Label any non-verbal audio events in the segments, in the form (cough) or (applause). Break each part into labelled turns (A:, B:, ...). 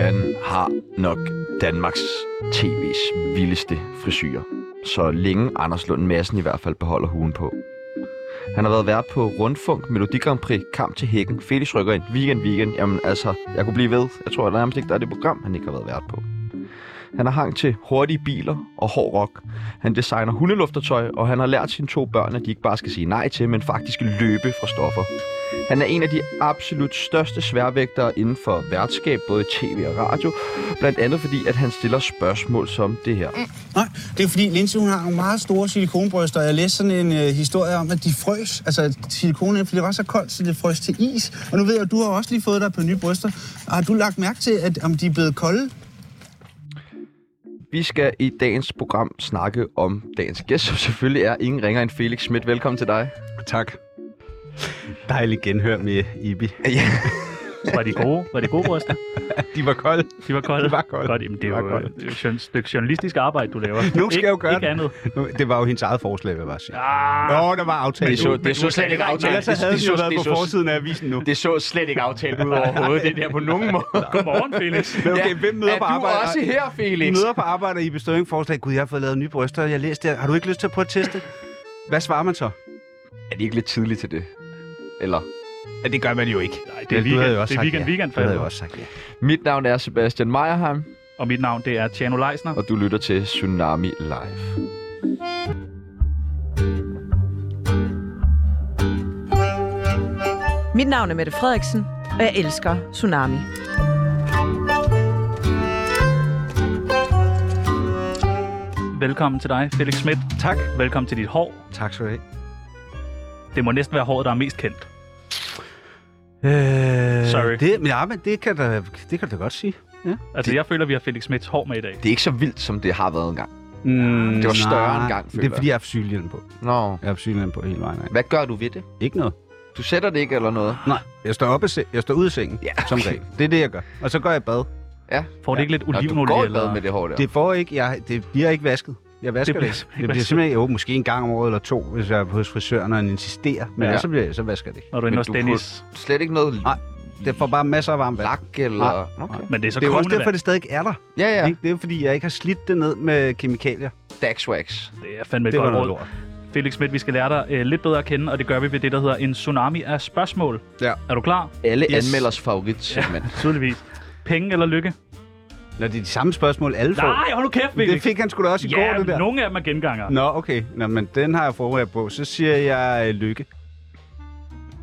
A: Han har nok Danmarks tv's vildeste frisyrer. Så længe Anders Lund Madsen i hvert fald beholder huen på. Han har været vært på Rundfunk, Melodi Grand Prix, Kamp til Hækken, Felix rykker ind, Weekend Weekend. Jamen altså, jeg kunne blive ved. Jeg tror at der nærmest ikke, der er det program, han ikke har været vært på. Han har hang til hurtige biler og hård rock. Han designer hundeluftertøj, og han har lært sine to børn, at de ikke bare skal sige nej til, men faktisk løbe fra stoffer. Han er en af de absolut største sværvægtere inden for værtskab, både i tv og radio. Blandt andet fordi, at han stiller spørgsmål som det her.
B: Nej, det er fordi Linse, hun har nogle meget store silikonbryster, og jeg læste sådan en øh, historie om, at de frøs, altså at silikonen, fordi det var så koldt, så det frøs til is. Og nu ved jeg, at du har også lige fået dig på nye bryster. Og har du lagt mærke til, at om de er blevet kolde?
A: Vi skal i dagens program snakke om dagens gæst, som selvfølgelig er ingen ringer end Felix Schmidt. Velkommen til dig.
C: Tak. Dejlig genhør med Ibi.
A: Ja.
D: Var de gode? Var det gode bryster?
C: De var kolde.
D: De var kolde?
C: De var kolde.
D: Godt, jamen, det
C: De
D: er
C: var
D: jo
C: kolde.
D: det er jo et journ- stykke journalistisk arbejde, du
C: Nu
D: laver.
C: skal
D: ikke,
C: jeg jo gøre
D: Ikke
C: det.
D: andet.
C: Nu- Det var jo hendes eget forslag, vil jeg bare sige. (laughs)
D: Ah,
C: Nå, der var aftalt.
A: Det så- det så slet ikke aftalt.
C: Ellers så
A: Det-
C: havde
A: det
C: vi jo
A: så-
C: været
A: det
C: på
A: så-
C: forsiden af avisen nu.
A: Det så slet ikke aftalt ud overhovedet, det der på
C: (laughs)
A: nogen måde.
D: godmorgen, Felix.
C: Men okay, hvem møder
A: er
C: på arbejde?
A: du også her, Felix?
C: Møder på arbejde og Ibi Støving forslag. Gud, jeg har fået lavet nye bryster, og jeg læste det. Har du ikke lyst til at prøve at teste? Hvad svarer man så?
A: Er det ikke lidt tidligt til det? Eller?
C: Ja, det gør man jo ikke.
D: Nej, det
C: Men
D: er
C: du havde
D: weekend,
C: jo også
D: det
C: sagt
D: er weekend,
C: ja.
D: weekend for
C: Du havde jo
D: helvede.
C: også sagt ja.
A: Mit navn er Sebastian Meierheim,
D: Og mit navn, det er Tjano Leisner.
A: og du lytter til Tsunami Live.
E: Mit navn er Mette Frederiksen, og jeg elsker Tsunami.
D: Velkommen til dig, Felix Schmidt.
C: Tak.
D: Velkommen til dit hår.
C: Tak skal du have.
D: Det må næsten være håret, der er mest kendt.
C: Øh,
D: Sorry.
C: Det, men ja, men det kan, da, det kan du da godt sige. Ja.
D: Altså, jeg føler, vi har Felix Schmidts hår med i dag.
A: Det er ikke så vildt, som det har været engang.
C: Mm,
A: Det var større engang,
C: Det
A: føler
C: er fordi, jeg har haft sygehjelm på.
A: Nå.
C: Jeg har haft sygehjelm på hele vejen. af.
A: Hvad gør du ved det?
C: Ikke noget.
A: Du sætter det ikke eller noget?
C: Nej, jeg står, oppe, af se- jeg står ude af sengen,
A: Ja,
C: ja, okay. som
A: okay.
C: regel. Det er det, jeg gør. Og så går jeg i bad.
A: Ja.
D: Får det ikke lidt
A: Nå, du går
D: olivenolie?
A: i bad med
D: Eller...
A: det hår der.
C: Det, får ikke, jeg, det bliver ikke vasket. (laughs) Jeg vasker
D: Det
C: det.
D: bliver
C: Bliver det.
D: simpelthen
C: det bliver
D: vasket.
C: simpelthen, jo, måske en gang om året eller to, hvis jeg er hos frisøren, og han insisterer. Men
A: Ja.
C: ja. så, bliver jeg, så vasker jeg det ikke.
D: Når du er
A: Men
D: inde hos
A: du
D: Dennis.
A: Slet ikke noget
C: Nej, det får bare masser af varmt vand.
A: lak eller... Okay.
D: Men det er så
C: Det er jo også
D: kogende
C: derfor,
D: vand.
C: det stadig ikke er der.
A: Ja,
C: Ja.
A: ja.
C: Ikke? Det er jo fordi, jeg ikke har slidt det ned med kemikalier.
A: Daxwax.
D: Det er fandme et
C: Det var
D: godt
C: noget
D: råd.
C: lort.
D: Felix Schmidt, vi skal lære dig øh, lidt bedre at kende, og det gør vi ved det, der hedder en tsunami af spørgsmål.
C: Ja.
D: Er du klar?
A: Alle
C: Yes.
A: anmelders favoritsegment.
D: Tydeligvis. Penge eller lykke?
C: Når det er de samme spørgsmål, alle får.
D: Nej, hold nu kæft, Felix.
C: Det fik han sgu da også i
D: ja,
C: går, det der.
D: nogle af dem er genganger.
C: Nå, okay. Nå, men den har jeg forberedt på. Så siger jeg øh, lykke.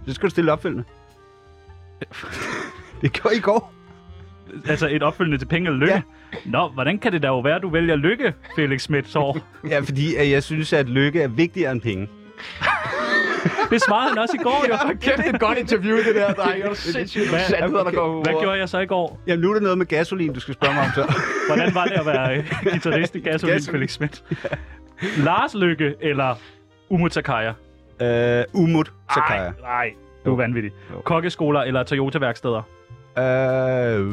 C: Så skal du stille
D: (laughs)
C: opfølgende. det gjorde I i går.
D: Altså et opfølgende til penge eller lykke. Ja. Nå, hvordan kan det da jo være, du vælger lykke, Felix Schmidt Sår?
C: Ja, fordi at jeg synes, at lykke er vigtigere end penge.
D: Det svarede han også i går, jo.
A: (laughs) Kæft et godt interview, det der, dreng. Det er sindssygt
D: Hvad-
A: sandheder, der
C: okay.
A: går ud.
D: Hvad gjorde jeg så i går?
C: Jamen, nu er der noget med gasolin, du skal spørge mig om
D: (laughs)
C: så.
D: Hvordan var det at være øh, guitarist i Gasolin,
C: Gasolin.
D: Felix Schmidt? Lars Lykke eller Umut Takaya?
C: øh, umut, så kan jeg.
D: Nej, du
C: Jo.
D: er vanvittig.
C: Jo.
D: Kokkeskoler eller Toyota-værksteder?
C: Øh,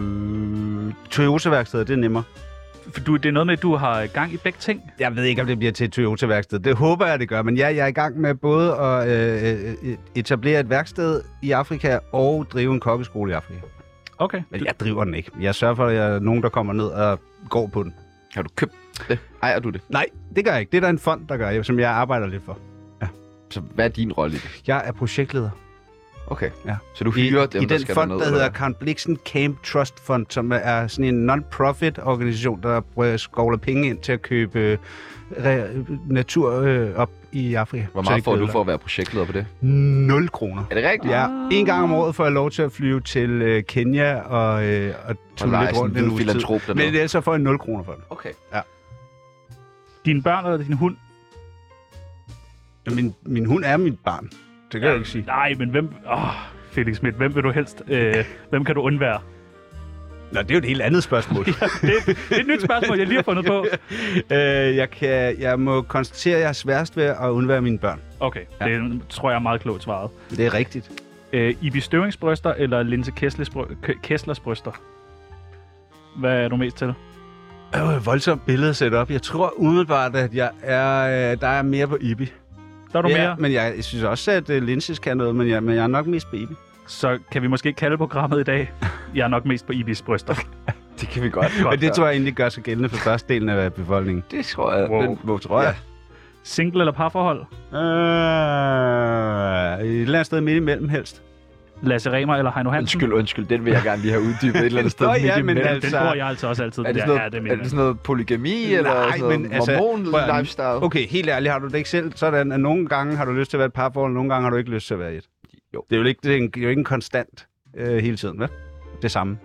C: Toyota-værkstedet, det er nemmere.
D: For du, det er noget med, at du har gang i begge ting.
C: Jeg ved ikke, om det bliver til et Toyota-værksted. Det håber jeg, det gør. Men ja, jeg er i gang med både at øh, øh, etablere et værksted i Afrika og drive en kokkeskole i Afrika.
D: Okay.
C: Men jeg driver den ikke. Jeg sørger for, at jeg er nogen, der kommer ned og går på den.
A: Har du købt det? Ejer du det?
C: Nej, det gør jeg ikke. Det er der en fond, der gør, som jeg arbejder lidt for.
A: Så hvad er din rolle i det?
C: Jeg er projektleder.
A: Okay.
C: Ja.
A: Så du hyrer
C: I,
A: dem,
C: i
A: der
C: den
A: skal
C: fond,
A: derned,
C: der
A: eller
C: hedder
A: hvad?
C: Karen Bliksen Camp Trust Fund, som er sådan en non-profit organisation, der prøver at skovle penge ind til at købe øh, re- natur øh, op i Afrika.
A: Hvor
C: Så
A: meget
C: ikke
A: får du
C: ødelægger.
A: for at være projektleder på det?
C: 0 kroner.
A: Er det rigtigt?
C: Ja, en gang om året får jeg lov til at flyve til øh, Kenya og, øh, og tulle
A: lege
C: lidt
A: sådan
C: rundt
A: en
C: en
A: hvid
C: uges tid.
A: filantrop dernede.
C: Men ellers så får jeg 0 kroner for det.
A: Okay.
D: Dine børn eller din hund?
C: Ja, Min, min hund er mit barn. Det kan jeg ikke sige.
D: Nej, men hvem... Åh, Felix Schmidt, hvem vil du helst... Øh, hvem kan du undvære?
C: Nå, det er jo et helt andet (laughs) spørgsmål.
D: Det, det er et nyt spørgsmål, jeg lige har fundet på.
C: øh, jeg, kan, jeg må konstatere, at jeg er sværest ved at undvære mine børn.
D: Okay, ja. det tror jeg er meget klogt svaret.
C: Det er rigtigt.
D: Øh, Ibi Støvings bryster eller Linse Kesslers, bry- K- Kesslers bryster? Hvad er du mest til?
C: øh, voldsomt billede sat op. Jeg tror umiddelbart, at jeg er, øh, der er mere på Ibi.
D: Der er du
C: ja,
D: mere.
C: men jeg, jeg synes også, at øh, Linses kan noget, men jeg, men jeg er nok mest på Ibi.
D: Så kan vi måske kalde programmet i dag. Jeg er nok mest på Ibis bryster.
A: Det kan vi godt.
D: Godt.
C: Men det tror jeg egentlig gør sig gældende for størstedelen af befolkningen.
A: Det tror jeg.
D: Wow.
A: Den, hvor tror jeg?
D: Single eller parforhold?
C: Øh, et eller andet sted midt imellem helst.
D: Lasse Remer eller Heino Hansen?
A: Undskyld, undskyld. Den vil jeg gerne lige have uddybet et eller
D: (laughs)
A: andet sted.
C: Nå,
A: midt
C: ja, men
A: imellem.
D: Den
C: altså-
D: bruger jeg altså også altid.
A: Er det
D: Ja,
A: sådan noget,
D: ja, det
A: er
D: mener
A: det
D: jeg.
A: sådan noget polygami, Nej, eller sådan noget men, altså,
C: prøv at-
A: lifestyle? Okay.
C: Okay, helt ærligt, har du det ikke selv sådan, at nogle gange har du lyst til at være et parforhold, nogle gange har du ikke lyst til at være i et?
A: Jo.
C: Det er jo ikke, det er en, det er jo ikke en konstant øh, hele tiden, vel? Det samme.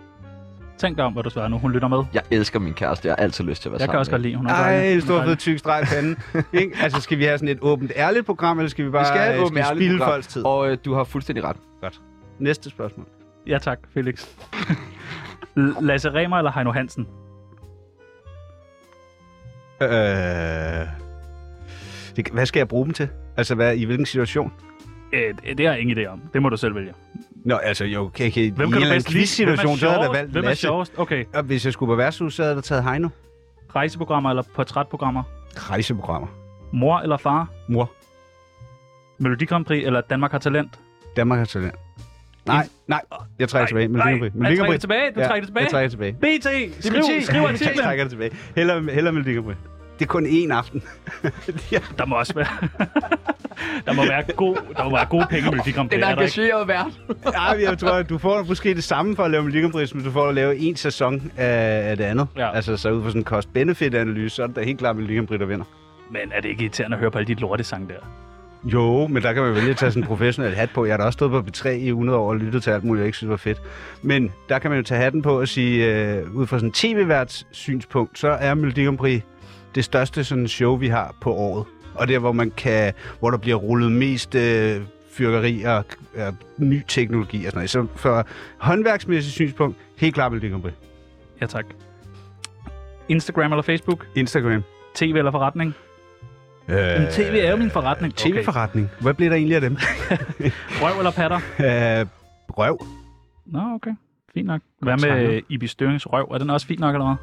D: Tænk dig om, hvad du svarer nu. Hun lytter med.
A: Jeg elsker min kæreste. Jeg har altid lyst til at være
D: Jeg
A: sammen
D: kan også godt
A: med
D: lide, hun er dejlig. Hun
C: Ej,
D: er
C: stor fed
D: dejlig.
C: tyk streg i
D: (laughs)
C: panden. ikke? Altså, skal vi have sådan et åbent, ærligt program, eller skal vi bare
A: hende. Vi skal
C: øh,
A: have et ærligt
C: spilde
A: program,
C: folks tid?
A: Og øh, du har fuldstændig ret.
C: Næste spørgsmål.
D: Ja tak, Felix. (laughs) L- Lasse Remer eller Heino Hansen?
C: Øh, det, hvad skal jeg bruge dem til? Altså, hvad, i hvilken situation?
D: Øh, det- det har jeg ingen idé om. Det må du selv vælge.
C: Nå, altså, jo, okay, okay. i
D: Hvem
C: en
D: kan du
C: eller
D: bedst
C: anden
D: lide?
C: quiz-situation,
D: Hvem
C: så
D: er
C: havde jeg da
D: sjovest?
C: valgt
D: Hvem er
C: Lasse.
D: sjovest? Okay.
C: Og hvis jeg skulle på værtshus, så havde jeg da taget Heino.
D: Rejseprogrammer eller portrætprogrammer?
C: Rejseprogrammer.
D: Mor eller far?
C: Mor.
D: Melodi Grand Prix eller Danmark har talent?
C: Danmark har talent. Nej, nej. Jeg trækker tilbage. Men Melodi Grand Prix.
D: nej,
C: Melodi
D: jeg
C: Grand Prix.
D: trækker tilbage. Du
C: Ja,
D: trækker det tilbage.
C: Jeg trækker tilbage.
D: BT, skriv, skriv
C: (laughs) Jeg
D: artiklen.
C: trækker det tilbage. Heller, heller Melodi Grand Prix. Det er kun én (laughs) aften. ja.
D: Der må også være... (laughs) der må være god, der må være gode penge i Melodi Grand Prix.
A: Den
D: er der ikke?
A: engagerede vært.
C: Ej, men jeg tror, at du får måske det samme for at lave Melodi Grand Prix, som du får at lave en sæson af, af det andet.
D: Ja.
C: Altså, så ud fra sådan en cost-benefit-analyse, så er det da helt klart Melodi Grand Prix, der vinder.
D: Men er det ikke irriterende at høre på alle de lortesange der?
C: Jo, men der kan man vælge at tage sådan en professionel hat på. Jeg har da også stået på B3 i 100 år og lyttet til alt muligt, jeg ikke synes var fedt. Men der kan man jo tage hatten på og sige, øh, ud fra sådan en tv-værts synspunkt, så er Melodi Grand Prix det største sådan show, vi har på året. Og der, hvor, man kan, hvor der bliver rullet mest øh, fyrkeri og øh, ny teknologi og sådan noget. Så for håndværksmæssigt synspunkt, helt klart Melodi Grand Prix.
D: Ja tak. Instagram eller Facebook?
C: Instagram.
D: TV eller forretning?
C: Øh,
D: Men TV er jo min forretning.
C: TV-forretning. Hvad bliver der egentlig af dem?
D: Okay. Røv eller patter?
C: (laughs) øh, røv.
D: Nå, okay. Fint nok. Hvad med Ibi Størings røv? Er den også fint nok, eller hvad?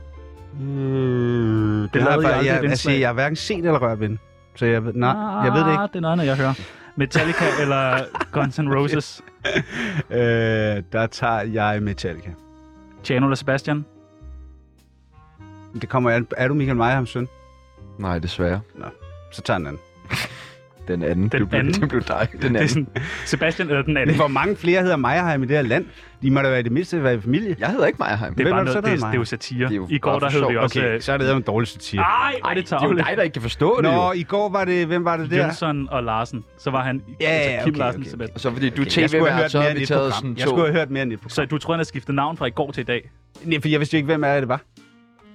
C: Mm,
D: lavede Øh, jeg aldrig et
C: jeg, altså,
D: indslag.
C: jeg har hverken set eller rørt ved den. Så jeg, ved- nej, jeg ved det ikke.
D: Ah, Det er noget andet, jeg hører.
C: (laughs)
D: Metallica eller Guns N' Roses? Ah.
C: Øh, der tager jeg Metallica.
D: Tjano eller Sebastian?
C: Det kommer an. Er du Michael Meyerhams søn?
A: Nej, desværre.
C: Så tager jeg den anden.
A: Den anden.
D: Den
A: det blev,
D: anden.
A: Det blev dig. (laughs) Den
D: Det er
A: anden.
D: sådan, Sebastian eller den anden?
C: Men hvor mange flere hedder Meyerheim i det her land? De må da være i det mindste være i familie.
A: Jeg hedder ikke Meyerheim.
D: Det er,
C: Hvem er
D: bare
C: det så,
D: noget,
C: der
D: det,
C: er
D: er,
C: mig?
D: det er jo satire.
A: Det er jo
D: I
A: bare
D: går, der
A: for
D: hed
A: sjov.
D: det også...
C: Okay,
D: øh,
C: så er det jo en dårlig satire.
D: Ej, hvor er det
A: det er jo
D: tavligt.
A: dig, der ikke kan forstå det
C: Nå,
A: jo.
C: i går var det... Hvem var det der?
D: Jønsson og Larsen. Så var han
C: Ja,
D: altså Kim
C: okay,
D: Larsen
C: okay,
D: Sebastian.
A: Og så fordi du okay,
C: Jeg skulle
A: tv-vært,
C: have hørt
A: så
C: mere
A: har
C: end
A: vi
C: et
A: taget sådan
C: program.
A: to.
C: Jeg skulle have hørt mere end et program.
D: Så du tror, han har skiftet navn fra i går til i dag?
C: Nej, for jeg vidste jo ikke, hvem er det var.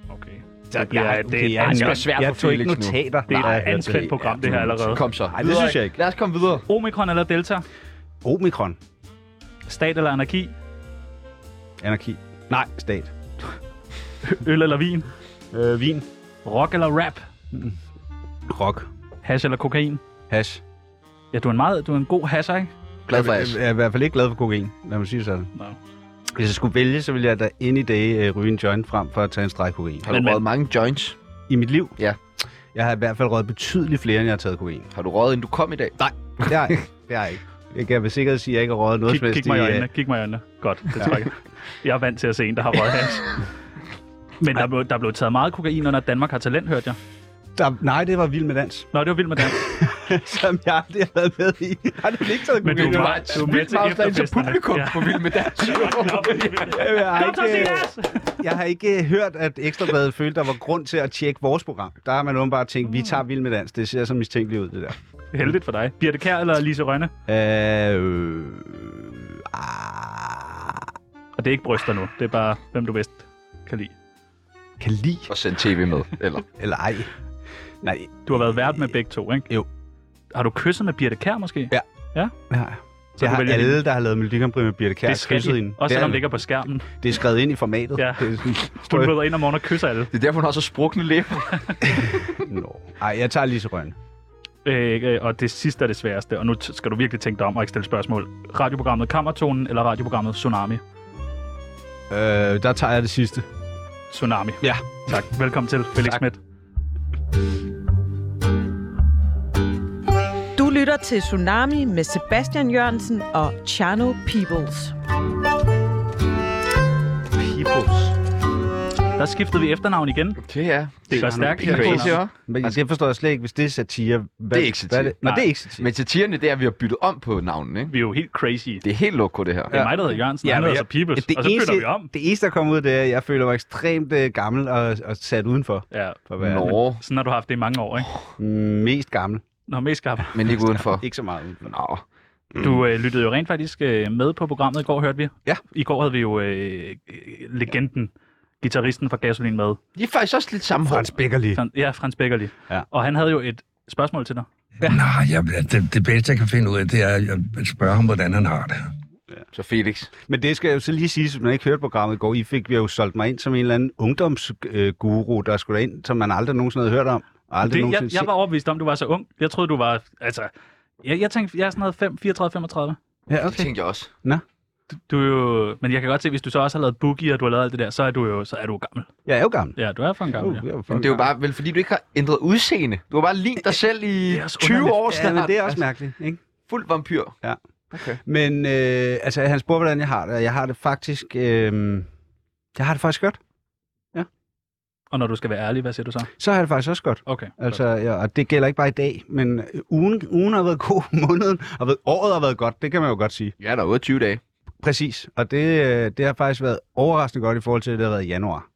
D: Okay.
C: Så
D: Det bliver- det er et
C: jeg,
A: ansvar
C: jeg,
A: svært
C: jeg
A: for
C: tog ikke
A: Felix nu.
C: notater.
D: Det er
C: Nej,
D: et anspændt program, det her allerede.
A: Kom så.
C: det synes jeg ikke.
A: Lad os komme videre.
D: Omikron eller Delta?
C: Omikron.
D: Stat eller anarki?
C: Anarki. Nej, stat.
D: Øl eller vin?
C: Øh, vin.
D: Rock eller rap?
C: Rock.
D: Hash eller kokain?
C: Hash.
D: Ja, du er en, meget, du er en god hasher, ikke?
A: Glad for
C: jeg,
A: jeres.
C: jeg, jeg er i hvert fald ikke glad for kokain, lad mig sige det sådan.
D: No.
C: Hvis jeg skulle vælge, så ville jeg da ind i dag øh, ryge en joint frem for at tage en streg kokain.
A: Har du
D: Men- men-
A: røget mange joints?
C: I mit liv?
A: Ja.
C: Jeg har i hvert fald røget betydeligt flere, end jeg har taget kokain.
A: Har du røget, inden du kom i dag? Nej.
C: Det har jeg ikke. Det har jeg ikke. Jeg kan med sikkerhed sige, at jeg ikke har røget noget
D: Kig,
C: som helst
D: kig mig i
C: øh,
D: øjnene, kig mig i øjnene. Godt, det tror jeg. Jeg er vant til at se en, der har røget hash. Men der blev, der blev taget meget kokain under Danmark har talent, hørte jeg.
C: øh, Der, nej, det var vild med
D: (laughs)
C: dans,
D: Nå, det var vildt med dans.
C: som jeg aldrig har været med i. Jeg har det ikke taget
D: Men du
C: kokain.
D: var-
A: Bare
D: du er med til
A: til
D: efterfesterne.
A: publikum
D: Ja.
A: på Vild med
C: (laughs)
A: Dans.
C: Jeg, jeg, har
D: Kom så,
C: ikke, øh,
D: Silas!
C: jeg har ikke øh, hørt, at Ekstrabladet følte, der var grund til at tjekke vores program. Der har man åbenbart tænkt, vi tager vild med dans. Det ser så mistænkeligt ud, det der.
D: Heldigt for dig. Birte Kær eller Lise Rønne?
C: Øh, øh, ah,
D: Og det er ikke bryster nu, det er bare, hvem du bedst kan lide.
C: kan lide.
A: Og send tv med. Eller,
C: Eller ej. Nej.
D: Du har været vært med begge to, ikke?
C: Jo.
D: Har du kysset med Birte Kær måske?
C: Ja. Ja.
D: Så
C: Det
D: du
C: har
D: vælger
C: alle, der har lavet Melodi Grand Prix med Birte Kjær,
D: Det skal
C: krydset
D: de.
C: ind.
D: Også
C: det,
D: selvom det
C: er,
D: ligger på skærmen.
C: det er skrevet ind i formatet.
D: Ja.
C: Det er
D: (laughs)
C: sådan,
D: Du
C: tror jeg-
D: møder ind om morgenen og kysser alle.
A: det er derfor, hun har så sprukne læber.
C: Nå. Ej, jeg tager Lise Røn.
D: Øh, øh, og det sidste er det sværeste, og nu t- skal du virkelig tænke dig om og ikke stille spørgsmål. Radioprogrammet Kammertonen eller radioprogrammet Tsunami?
C: Øh, der tager jeg det sidste.
D: Tsunami.
C: Ja.
D: Tak. Velkommen til, Felix
C: Tak.
D: Schmidt.
E: Du lytter til Tsunami med Sebastian Jørgensen og Chano Peoples.
C: Peoples.
D: Der skiftede vi efternavn igen.
A: Det er.
D: Det går stærkt.
A: Det er crazy, hva'?
C: Men altså, det forstår jeg slet ikke, hvis det er satire. Hvad,
A: Det er ikke satire.
C: Hvad er det? Nej,
D: Nej.
C: det er ikke satire.
A: Men satiren det er, at vi har byttet om på navnene, ikke?
D: Vi er jo helt crazy. Det
A: Det er helt loko, det her.
D: er mig, der hedder Jørgensen, ja, han
C: men
D: hedder så
C: jeg-
D: Peoples,
C: det
D: og så bytter
C: eneste,
D: vi om.
C: Det eneste, der kom ud, det er, at jeg føler mig ekstremt øh, gammel og, og sat udenfor.
D: Ja,
C: For at være
A: Nå,
D: sådan har du haft det i mange år, ikke?
C: mest gammel.
D: Nå, mest skarp.
A: men ikke udenfor.
C: Ikke så meget udenfor.
A: Nå,
D: Du øh, lyttede jo rent faktisk øh, med på programmet i går, hørte vi.
C: Mm. Ja.
D: I går havde vi jo øh, øh, legenden, gitarristen fra Gasolin med.
A: de er faktisk også lidt samme hår.
C: Frans Beckerli.
D: Fran- Ja, Frans Beckerli.
C: Ja.
D: Og han havde jo et spørgsmål til dig.
F: Nej, jeg, det, det bedste, jeg kan finde ud af, det er at spørge ham, hvordan han har det.
A: Så Felix.
C: Men det skal jeg jo så lige sige, hvis man ikke hørte programmet i går. I fik vi jo solgt mig ind som en eller anden ungdomsguru, der skulle ind, som man aldrig nogensinde havde hørt om. Og aldrig
D: Det,
C: nogensinde
D: jeg, jeg var overbevist om, du var så ung. Jeg troede, du var... Altså, jeg, jeg tænkte, jeg er sådan noget 5, 34, 35.
C: set. Ja,
A: Det
C: okay.
A: tænkte jeg også.
D: Du er jo... Men jeg kan godt se, hvis du så også har lavet boogie, og du har lavet alt det der, så er du jo så er du gammel.
C: Jeg er jo gammel.
D: Ja, du er for en gammel.
C: Uh,
D: Ja.
C: jeg jo fucking
A: Men det er jo
C: gammel.
A: bare, vel, fordi du ikke har ændret udseende. Du har bare lignet dig selv i
D: er også
A: 20
D: underligt.
A: år
C: Ja, altså.
A: snart.
C: men det er også mærkeligt, ikke?
A: Fuld vampyr.
C: Men øh, altså, han spurgte, hvordan jeg har det, og jeg har det faktisk... Øh, jeg har det faktisk godt.
D: Og når du skal være ærlig, hvad siger du så?
C: Så har jeg det faktisk også godt.
D: Okay.
C: Altså, ja, og det gælder ikke bare i dag, men øh, ugen, ugen har været god, (laughs) måneden har været, året har været godt, det kan man jo godt sige.
A: Ja, der er 28 dage.
C: Præcis, og det, øh, det har faktisk været overraskende godt i forhold til, at det har været i januar.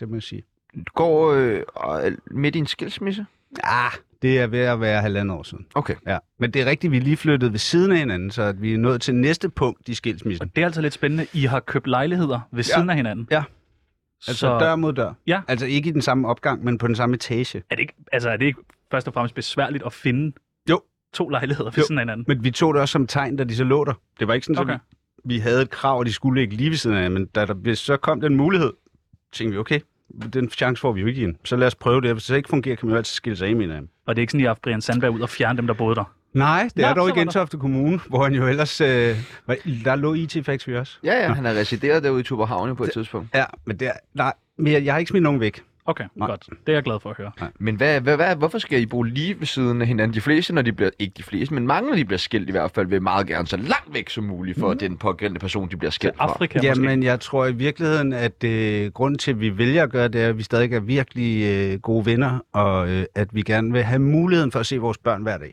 C: Det må jeg sige.
A: Du går øh, og er midt i en skilsmisse.
C: Ah, det er ved at være halvandet år siden.
A: Okay.
C: Ja. Men det er rigtigt, vi er lige flyttede ved siden af hinanden, så at vi er nået til næste punkt i skilsmissen.
D: Og det er altså lidt spændende. I har købt lejligheder ved ja. siden af hinanden.
C: Ja.
D: Så
C: Altså så... dør mod dør.
D: Ja.
C: Altså ikke i den samme opgang, men på den samme etage.
D: er, det ikke, altså, er det ikke først og fremmest besværligt at finde
C: Jo.
D: to lejligheder ved
C: Jo.
D: siden af hinanden?
C: Men vi tog det også som tegn, da de så lå der. Det var ikke sådan, okay.
D: Okay.
C: at vi, vi havde et krav, at de skulle ikke lige ved siden af, men da der, hvis så kom den mulighed, tænkte vi, okay, den chance får vi jo ikke igen. Så lad os prøve det, og hvis det ikke fungerer, kan vi jo altid skille sig af med hinanden.
D: Og det er ikke sådan, at I har haft Brian Sandberg ud og fjerne dem, der boede der.
C: Nej, det
D: Nå,
C: er
D: så
C: dog
D: var
C: ikke
D: der-
C: Gentofte Kommune, (laughs) hvor han jo ellers... Øh, var- der lå IT Factory også.
A: Ja, ja, han har resideret derude i Tuberhavne på et tidspunkt.
C: Ja, men det er, nej, men jeg, jeg har ikke smidt nogen væk.
D: Okay, Nej.
C: Nej.
D: godt. Det er jeg glad for at høre.
A: Men hvad, hvad, hvad, hvorfor skal I bo lige ved siden af hinanden? De fleste, når de bliver, ikke de fleste, men mange, når de bliver skilt i hvert fald, vil meget gerne så langt væk som muligt for mm. den pågældende person, de bliver skilt fra.
D: Afrika måske.
C: Jamen, jeg tror i virkeligheden, at øh, grunden til, at vi vælger at gøre det, er, at vi stadig er virkelig øh, gode venner, og øh, at vi gerne vil have muligheden for at se vores børn hver dag.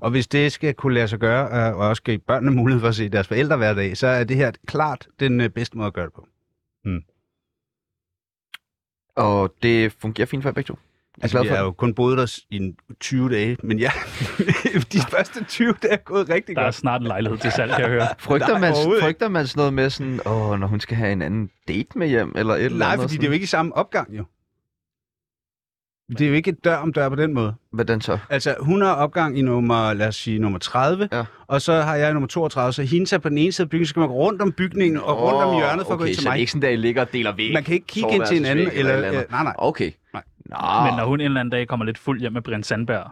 C: Og hvis det skal kunne lade sig gøre, øh, og også give børnene mulighed for at se deres forældre hver dag, så er det her klart den øh, bedste måde at gøre det på.
A: Og det fungerer fint for jer begge to. Jeg er
C: Altså,
A: glad
C: vi
A: for
C: har jo kun boet der i en 20 dage, men ja, (laughs) de første 20 dage er gået rigtig
D: Der er
C: godt.
D: snart en lejlighed til salg, kan jeg høre.
A: Frygter,
C: Nej,
A: man,
C: overhovedet ikke.
A: frygter man sådan noget med sådan, åh, når hun skal have en anden date med hjem, eller et eller
C: Nej,
A: andet?
C: fordi
A: sådan.
C: det er jo ikke i samme opgang, jo. Det er jo ikke dør om dør på den måde.
A: Hvordan så?
C: Altså, hun har opgang i nummer, lad os sige, nummer 30,
A: Ja.
C: og så har jeg nummer 32, så hende tager på den ene side af bygningen, så skal man gå rundt om bygningen og rundt om
A: Åh,
C: hjørnet
A: okay,
C: for at gå ind
A: så
C: til
A: det er
C: mig.
A: ikke sådan, der I ligger og deler væg.
C: Man kan ikke kigge ind til
A: soveværelsesvæg
C: hinanden, eller,
A: et
C: eller,
A: andet.
C: øh, nej, nej.
A: Okay.
C: Nej. Ah.
A: Nå,
D: Men når hun en eller anden dag kommer lidt fuld hjem med Brian Sandberg.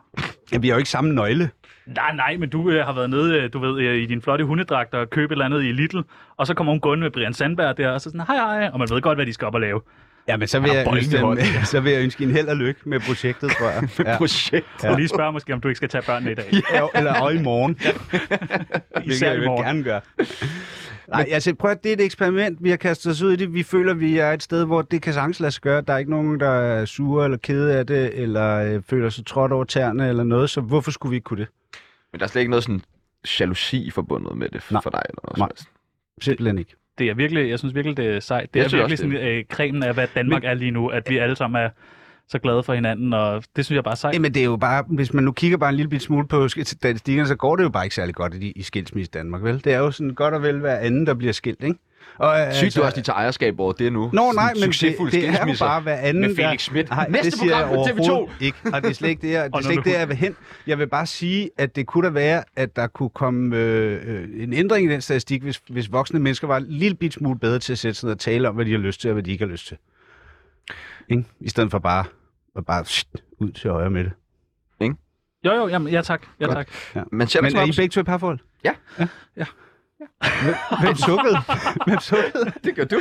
C: Ja, vi har jo ikke samme nøgle.
D: Nej, nej, men du øh, har været nede, øh, du ved, øh, i din flotte hundedragt og købe et eller andet i Lidl. Og så kommer hun gående med Brian Sandberg der, og så sådan, hej, hej. Og man ved godt, hvad de skal op og lave.
C: Ja, men så vil,
A: Han har
C: jeg
A: bolden i
C: ønske, dem,
A: hånden.
C: (laughs) så vil jeg ønske en held og lykke med projektet, tror (laughs) jeg. Ja.
A: (laughs) projekt.
D: Ja. Og lige spørge måske, om du ikke skal tage børnene i dag.
C: Jo, eller og i morgen. (laughs) Hvilket
D: Især
C: jeg
D: i
C: vil
D: morgen.
C: gerne gøre. Nej, altså prøv at det er et eksperiment, vi har kastet os ud i det. Vi føler, vi er et sted, hvor det kan sagtens lade sig gøre. Der er ikke nogen, der er sure eller kede af det, eller øh, føler sig trådt over tæerne eller noget, så hvorfor skulle vi ikke kunne det?
A: Men der er slet ikke noget sådan jalousi forbundet med det for,
C: Nej.
A: for dig? Eller noget
C: Nej.
A: som helst.
C: Simpelthen ikke.
D: Det er virkelig, jeg synes virkelig, det er sejt. Det
A: Jeg
D: er
A: synes
D: virkelig
A: også, det
D: sådan øh, cremen af, hvad Danmark men, er lige nu, at vi alle sammen er så glade for hinanden, og det synes jeg bare er sejt.
C: Jamen det er jo bare, hvis man nu kigger bare en lille bit smule på sk- statistikkerne, så går det jo bare ikke særlig godt i, i skilsmisse i Danmark, vel? Det er jo sådan godt og vel hver anden, der bliver skilt, ikke? Og, øh,
A: Sygt, altså, du også, de tager ejerskab over det nu.
C: Nå, nej,
A: Sådan
C: men det,
A: succesfuld
C: det er jo
A: skilsmisse.
C: bare hver anden...
A: med Felix
C: der-
A: Schmidt.
C: Nej,
A: Næste
C: det siger jeg
A: program på TV2.
C: overhovedet Ikke, og det er slet ikke
A: (laughs)
C: det, jeg, det er
D: Og
C: slet ikke det, jeg vil hen. Jeg vil bare sige, at det kunne da være, at der kunne komme øh, øh, en ændring i den statistik, hvis, hvis voksne mennesker var en lille bit smule bedre til at sætte sig ned og tale om, hvad de har lyst til og hvad de ikke har lyst til. Ikke? I stedet for bare at bare shit, ud til højre med det.
D: Jo, jo, jamen, ja tak. Ja, tak.
A: Men ser du
C: Men er I
A: men,
C: begge to i parforhold? Hvem sukkede? Hvem sukkede?
A: Det gør du.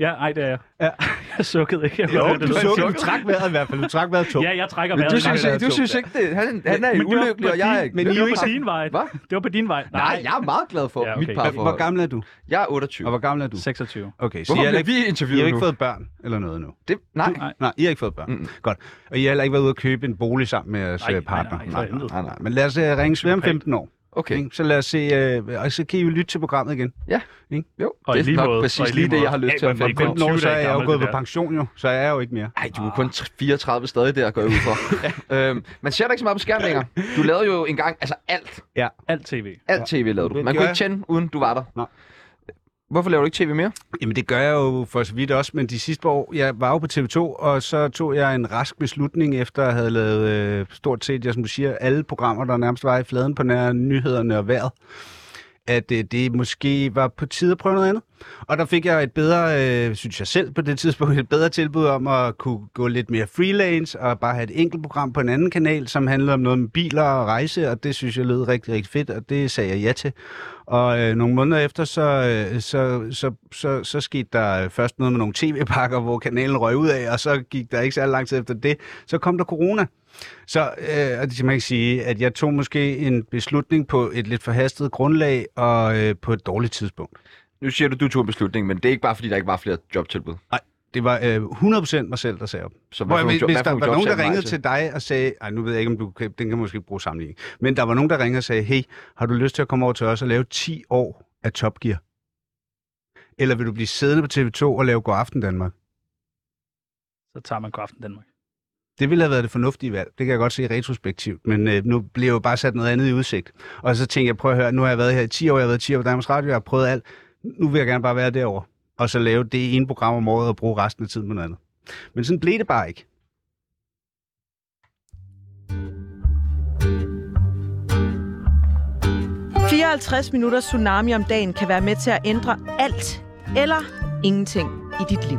D: Ja, ej, det er jeg.
C: Ja.
D: Jeg sukkede ikke. Jeg kunne
C: Jo,
D: godt høre,
C: du
D: lød
C: sukkede.
D: sjovt.
C: Du trak vejret i hvert fald. Du trak vejret tungt.
D: Ja, jeg trækker
A: Du
D: vejret.
A: synes,
D: langt.
A: ikke- du synes ikke, det, han, han er
D: Men det var
A: ulykkelig,
D: på
A: og jeg
D: din-
A: er ikke.
C: men I
D: Det
C: er jo
D: var
C: ikke-
D: på din vej.
A: Hvad?
D: Det var på din vej.
A: Nej, jeg er meget glad for
D: Ja,
A: ja,
D: okay.
A: mit
C: Hvor hvor
A: parforhold.
C: gammel er du?
A: Jeg er
C: Og
A: 28.
C: hvor gammel er du?
D: 26.
C: Okay, så I
A: Hvorfor
C: har
A: bliver
C: ikke,
A: vi
C: I har
A: interviewet
C: ikke
A: nu?
C: fået børn eller noget nu?
A: Det, nej.
D: Nej.
C: Nej, I har ikke fået børn. Mm. Godt. Og I har heller ikke været ude at købe en bolig sammen med jeres
D: Nej,
C: øh,
D: nej,
C: partner?
D: nej, for helvede.
C: nej, nej. Men lad os uh, ringe ved om
D: Konkret.
C: 15 år.
A: Okay.
C: ikke? Så lad os se, uh, og så kan I jo lytte til programmet igen.
A: Ja.
C: Ikke?
A: Jo,
D: Og i
A: det
D: lige
A: er
D: måde,
A: nok
D: og i
A: præcis
D: lige
A: lige det,
D: måde.
A: jeg har lyst
D: Ja,
A: til om
D: men-
A: 15 år.
D: men-
C: 15 år,
D: 20
C: så er
D: dage
C: jeg jo
D: gammel,
C: gået
D: det
C: på
D: der.
C: pension jo, så er jeg jo ikke mere.
A: Ej, du er kun 34 stadig der, går jeg (laughs) ud fra. øhm, man ser dig ikke så meget på skærmen længere. Du lavede jo engang, altså alt,
C: Ja.
D: Alt tv.
A: alt tv lavede du.
C: Det
A: Man
C: gjorde
A: kunne ikke tænde, uden du var der.
C: Nej.
A: Hvorfor laver du ikke tv mere?
C: Jamen det gør jeg jo for så vidt også, men de sidste par år, jeg var jo på TV2, og så tog jeg en rask beslutning, efter at have lavet øh, stort set, jeg som du siger, alle programmer, der nærmest var i fladen på nær nyhederne og vejret, at øh, det måske var på tide at prøve noget andet. Og der fik jeg et bedre, øh, synes jeg selv på det tidspunkt, et bedre tilbud om at kunne gå lidt mere freelance og bare have et enkelt program på en anden kanal, som handlede om noget med biler og rejse, og det synes jeg lød rigtig, rigtig fedt, og det sagde jeg ja til. Og øh, nogle måneder efter, så, øh, så, så, så, så skete der øh, først noget med nogle tv-pakker, hvor kanalen røg ud af, og så gik der ikke særlig lang tid efter det. Så kom der corona. Så øh, og det- man kan sige, at jeg tog måske en beslutning på et lidt forhastet grundlag og øh, på et dårligt tidspunkt.
A: Nu siger du, du tog en beslutning, men det er ikke bare, fordi der ikke var flere jobtilbud.
C: Nej, det var øh, 100% mig selv, der sagde op.
A: Så hvad
C: Hvor,
A: for nogle
C: hvis,
A: job-
C: hvis
A: hvad for
C: der
A: nogle
C: var
A: job
C: nogen,
A: sagde
C: der
A: du nej
C: ringede
A: til?
C: til dig og sagde, Ej, nu ved jeg ikke, om du kan, den kan måske bruge sammenligning, men der var nogen, der ringede og sagde, hey, har du lyst til at komme over til os og lave 10 år af Top Gear? Eller vil du blive siddende på TV2 og lave God Aften Danmark?
D: Så tager man kraften Danmark.
C: Det ville have været det fornuftige valg. Det kan jeg godt se retrospektivt, men øh, nu blev jeg jo bare sat noget andet i udsigt. Og så tænkte jeg, prøv at høre, nu har jeg været her i 10 år, jeg har været 10 år på Danmarks Radio, jeg har prøvet alt. Nu vil jeg gerne bare være derovre. Og så lave det ene program om året og bruge resten af tiden på noget andet. Men sådan blev det bare ikke.
E: Danmark. 54 minutter tsunami om dagen kan være med til at ændre alt eller ingenting i dit liv.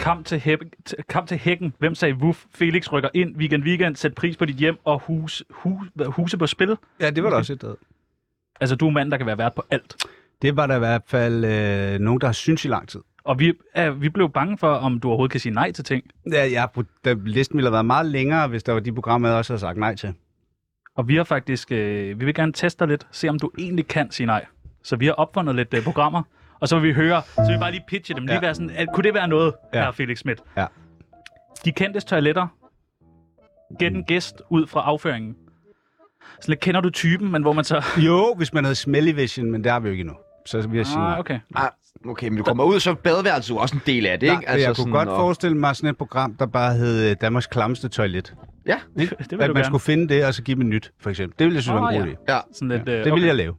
D: Kamp til, hæb, t- kamp til hækken. Hvem sagde vuf? Felix rykker ind. Weekend, weekend. Sæt pris på dit hjem og hus, hus, hvad, huse på spil.
C: Ja, det var da også et sted.
D: Altså, du er mand, der kan være vært på alt.
C: Det var der i hvert fald øh, nogen, der har syntes i lang tid.
D: Og vi, er, vi blev bange for, om du overhovedet kan sige nej til ting.
C: Ja, jeg, der, listen ville have været meget længere, hvis der var de programmer, jeg også havde sagt nej til.
D: Og vi har faktisk... Øh, vi vil gerne teste dig lidt. Se, om du egentlig kan sige nej. Så vi har opfundet lidt øh, programmer. Og så vil vi høre... Så vil vi bare lige pitche dem. Lige
C: Ja.
D: være sådan, at, kunne det være noget,
C: Ja.
D: ja. her Felix Schmidt?
C: Ja.
D: De kendtes toiletter. Gæt
C: Mm.
D: en gæst ud fra afføringen. Sådan lidt, kender du typen, men hvor man så...
C: Jo, hvis man havde Smelly Vision, men der er vi jo ikke endnu. Så vil jeg sige nej.
D: Ah, okay.
A: Ah, okay, men du kommer ud, så badeværelset er jo også en del af det,
C: Nej,
A: ikke?
C: altså, jeg kunne
A: sådan,
C: godt
A: og-
C: forestille mig sådan et program, der bare hed øh, Danmarks Klamste Toilet.
A: Ja,
C: Ikke?
D: (laughs) det vil
C: at
D: du
C: man
D: gerne.
C: skulle finde det, og så give dem nyt, for eksempel. Det ville jeg synes var
D: Ah,
C: en god
D: ja.
C: idé.
A: ja.
D: Sådan lidt, øh,
C: Det ville
D: okay.
C: jeg lave.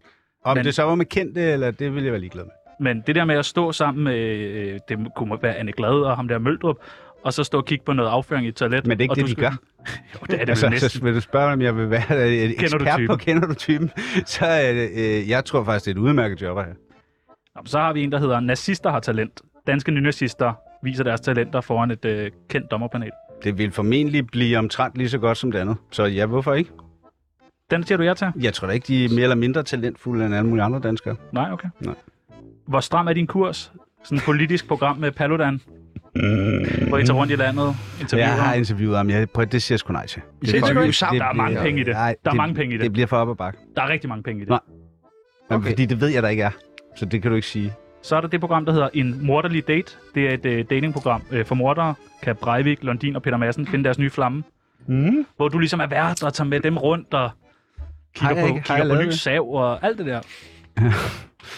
C: Om
D: Men-
C: det så var med kendte, eller det ville jeg være ligeglad med.
D: Men det der med at stå sammen med, øh, det kunne være Anne Glad og ham der Møldrup, og så stå og kigge på noget afføring i et toilet.
C: Men det er ikke
D: og
C: det,
D: du
C: de
D: skulle- jo, det er det altså,
C: Altså,
D: næsten.
C: (laughs) så vil du spørge, om jeg vil være et
D: du
C: ekspert på
D: typen?
C: Kender du typen? (laughs) Så øh, øh, jeg tror faktisk, det er et udmærket job her.
D: Nå, men så har vi en, der hedder Nazister har talent. Danske nynazister viser deres talenter foran et øh, kendt dommerpanel.
C: Det vil formentlig blive omtrent lige så godt som det andet. Så ja, hvorfor ikke?
D: Den siger du ja til?
C: Jeg tror da ikke, de er mere eller mindre talentfulde end alle mulige andre danskere.
D: Nej, okay.
C: Nej.
D: Hvor stram er din kurs? Sådan et politisk program med Paludan, hvor I tager rundt i landet, interviewer.
C: Jeg har interviewet ham. Jeg, prøv, det siger jeg sgu nej til. Det
A: siger
C: for-
A: du ikke?
C: det
A: Der er
C: bliver-
D: mange penge i det.
C: Nej,
D: Der er mange penge i det.
C: Det bliver for op ad bakke.
D: Der er rigtig mange penge i det.
C: Nej. Okay.
A: Okay. Mm-hmm.
C: Fordi det ved jeg, der ikke er. Så det kan du ikke sige.
D: Så er der det program, der hedder En Morderlig Date. Det er et øh, datingprogram øh, for mordere. Kan Breivik, Lundin og Peter Madsen finde deres nye flamme.
C: Mm.
D: Hvor du ligesom er vært og tager med dem rundt og kigger
C: Har jeg
D: på,
C: ikke- har
D: kigger
C: jeg
D: på
C: lavet
D: ny
C: det?
D: sav og alt det der.
A: Mm,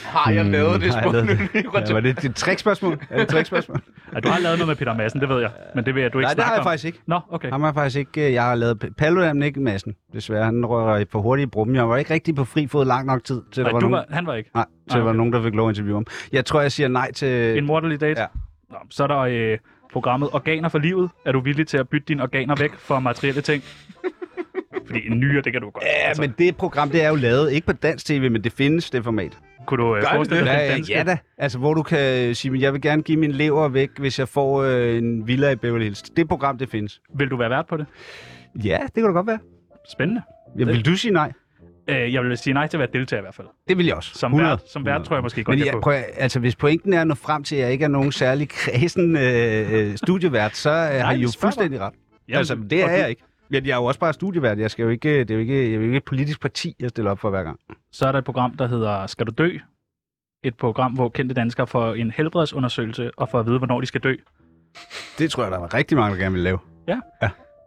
A: Har jeg lavet det
C: har jeg lavet
A: spurgte
C: det?
A: nu lige rundt
C: Ja, var det et trickspørgsmål? Er det et trickspørgsmål?
D: Ja, du har lavet noget med Peter Madsen, det ved jeg. Men det vil jeg, du ikke
C: Nej, det
D: snakke
C: har jeg
D: om.
C: faktisk ikke.
D: Nå, okay.
C: Ham har jeg faktisk ikke. øh, Jeg har lavet P- Paludan, men ikke massen. Desværre, han rører for hurtigt i brummen. Jeg var ikke rigtig på fri fod lang nok tid, til der
D: Nej,
C: var
D: du
C: nogen,
D: var, han var ikke.
C: nej, til
D: Nej,
C: der var
D: Ah, okay.
C: nogen, der fik lov at interviewe ham. Jeg tror, jeg siger nej til...
D: En Morderlig Date.
C: Øh, Ja.
D: Nå, så er der øh, programmet Organer for Livet. Er du villig til at bytte dine organer væk for materielle
C: (laughs)
D: ting? Fordi en nyere, det kan du godt. Altså,
C: Ja, men det program, det er jo lavet, ikke på dansk tv, men det findes, det format.
D: Kunne du øh,
A: Gør det
D: forestille dig den
C: Ja,
D: danske?
C: ja da. Altså, hvor du kan sige, men jeg vil gerne give min lever væk, hvis jeg får øh, en villa i Beverly Hills. Det program, det findes.
D: Vil du være vært på det?
C: Ja, det kan du godt være.
D: Spændende.
C: Ja, vil du sige nej?
D: Øh, jeg vil sige nej til at være deltager i hvert fald.
C: Det vil jeg også.
D: Som
C: 100.
D: vært, som vært tror jeg måske godt,
C: Men
D: jeg,
C: jeg,
D: kunne.
C: prøv, at- altså, hvis pointen er at nå frem til, at jeg ikke er nogen særlig kredsen øh, øh, studievært, så øh, har I
D: men
C: jo
D: spørg mig.
C: fuldstændig ret.
D: Jamen,
C: altså, det
D: og
C: er
D: du-
C: jeg ikke. Men jeg er jo også bare studievært. Jeg, skal jo ikke, det er jo ikke, jeg er jo ikke et politisk parti, jeg stiller op for hver gang.
D: Så er der et program, der hedder Skal du dø? Et program, hvor kendte danskere får en helbredsundersøgelse og får at vide, hvornår de skal dø.
C: Det tror jeg, der var rigtig mange, der gerne ville lave.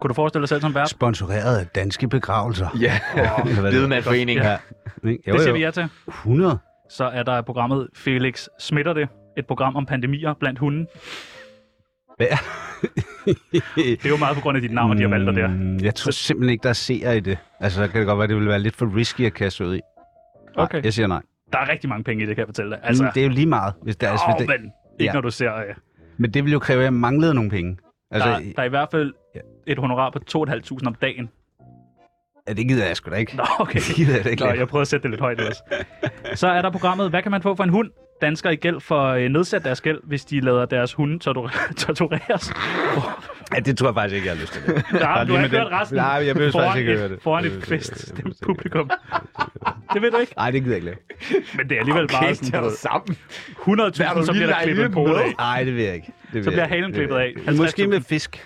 D: Kunne du forestille dig selv som vært?
C: Sponsoreret af danske begravelser.
A: Ja,
C: (laughs)
A: Bedemandforeningen.
D: Ja.
A: Ja.
C: Ikke? Jo,
D: Det siger
C: jo.
D: vi ja til.
C: 100.
D: Så er der programmet Felix Smitter det. Et program om pandemier blandt hunden.
C: Hvad?
D: Det er jo meget på grund af dit (laughs) navn, de har valgt dig der.
C: Mm, Jeg tror simpelthen ikke, der er seere i det. Altså, så kan det godt være, det ville være lidt for risky at kaste ud i. Nej,
D: Okay.
C: Jeg siger nej.
D: Der er rigtig mange penge i det, kan jeg fortælle dig.
C: Altså,
D: Altså,
C: mm, det er jo lige meget. Hvis der, altså,
D: åh,
C: hvis det,
D: men ikke
C: Ja.
D: når du ser... Øh,
C: men det ville jo kræve, at jeg manglede nogle penge. Altså,
D: der, der er i hvert fald et honorar på 2.500 om dagen. (laughs)
C: ja, det gider jeg sgu da ikke.
D: Nå, okay.
C: (laughs) Det gider jeg da ikke.
D: Nå, jeg prøvede at sætte det lidt højt ellers. Så er der programmet, hvad kan man få for en hund? Danskere i gæld for øh, nedsat deres gæld, hvis de lader deres hunde tortur- (laughs)
C: (laughs)
D: tortureres.
C: Ja, det tror jeg faktisk ikke, jeg har lyst til. Det.
D: Nej, du
C: lige
D: har
C: med
D: ikke hørt
C: den.
D: resten.
C: Nej, jeg behøver
D: Foran
C: faktisk ikke
D: et-
C: høre det.
D: Foran
C: Jeg
D: et
C: behøver ikke- jeg
D: kvist
C: behøver ikke-
D: publikum. (laughs) Det ved du ikke.
C: Nej, det gider jeg ikke lave.
D: Men det er alligevel bare sådan, du ved,
A: sammen.
D: 100.000, så bliver der klippet en pole af.
C: Nej, det vil jeg ikke. Det vil
D: Så bliver
C: jeg ikke.
D: halen
C: Det vil
D: klippet
C: jeg
D: af.
C: ikke.
D: 50.000.
C: Måske med fisk.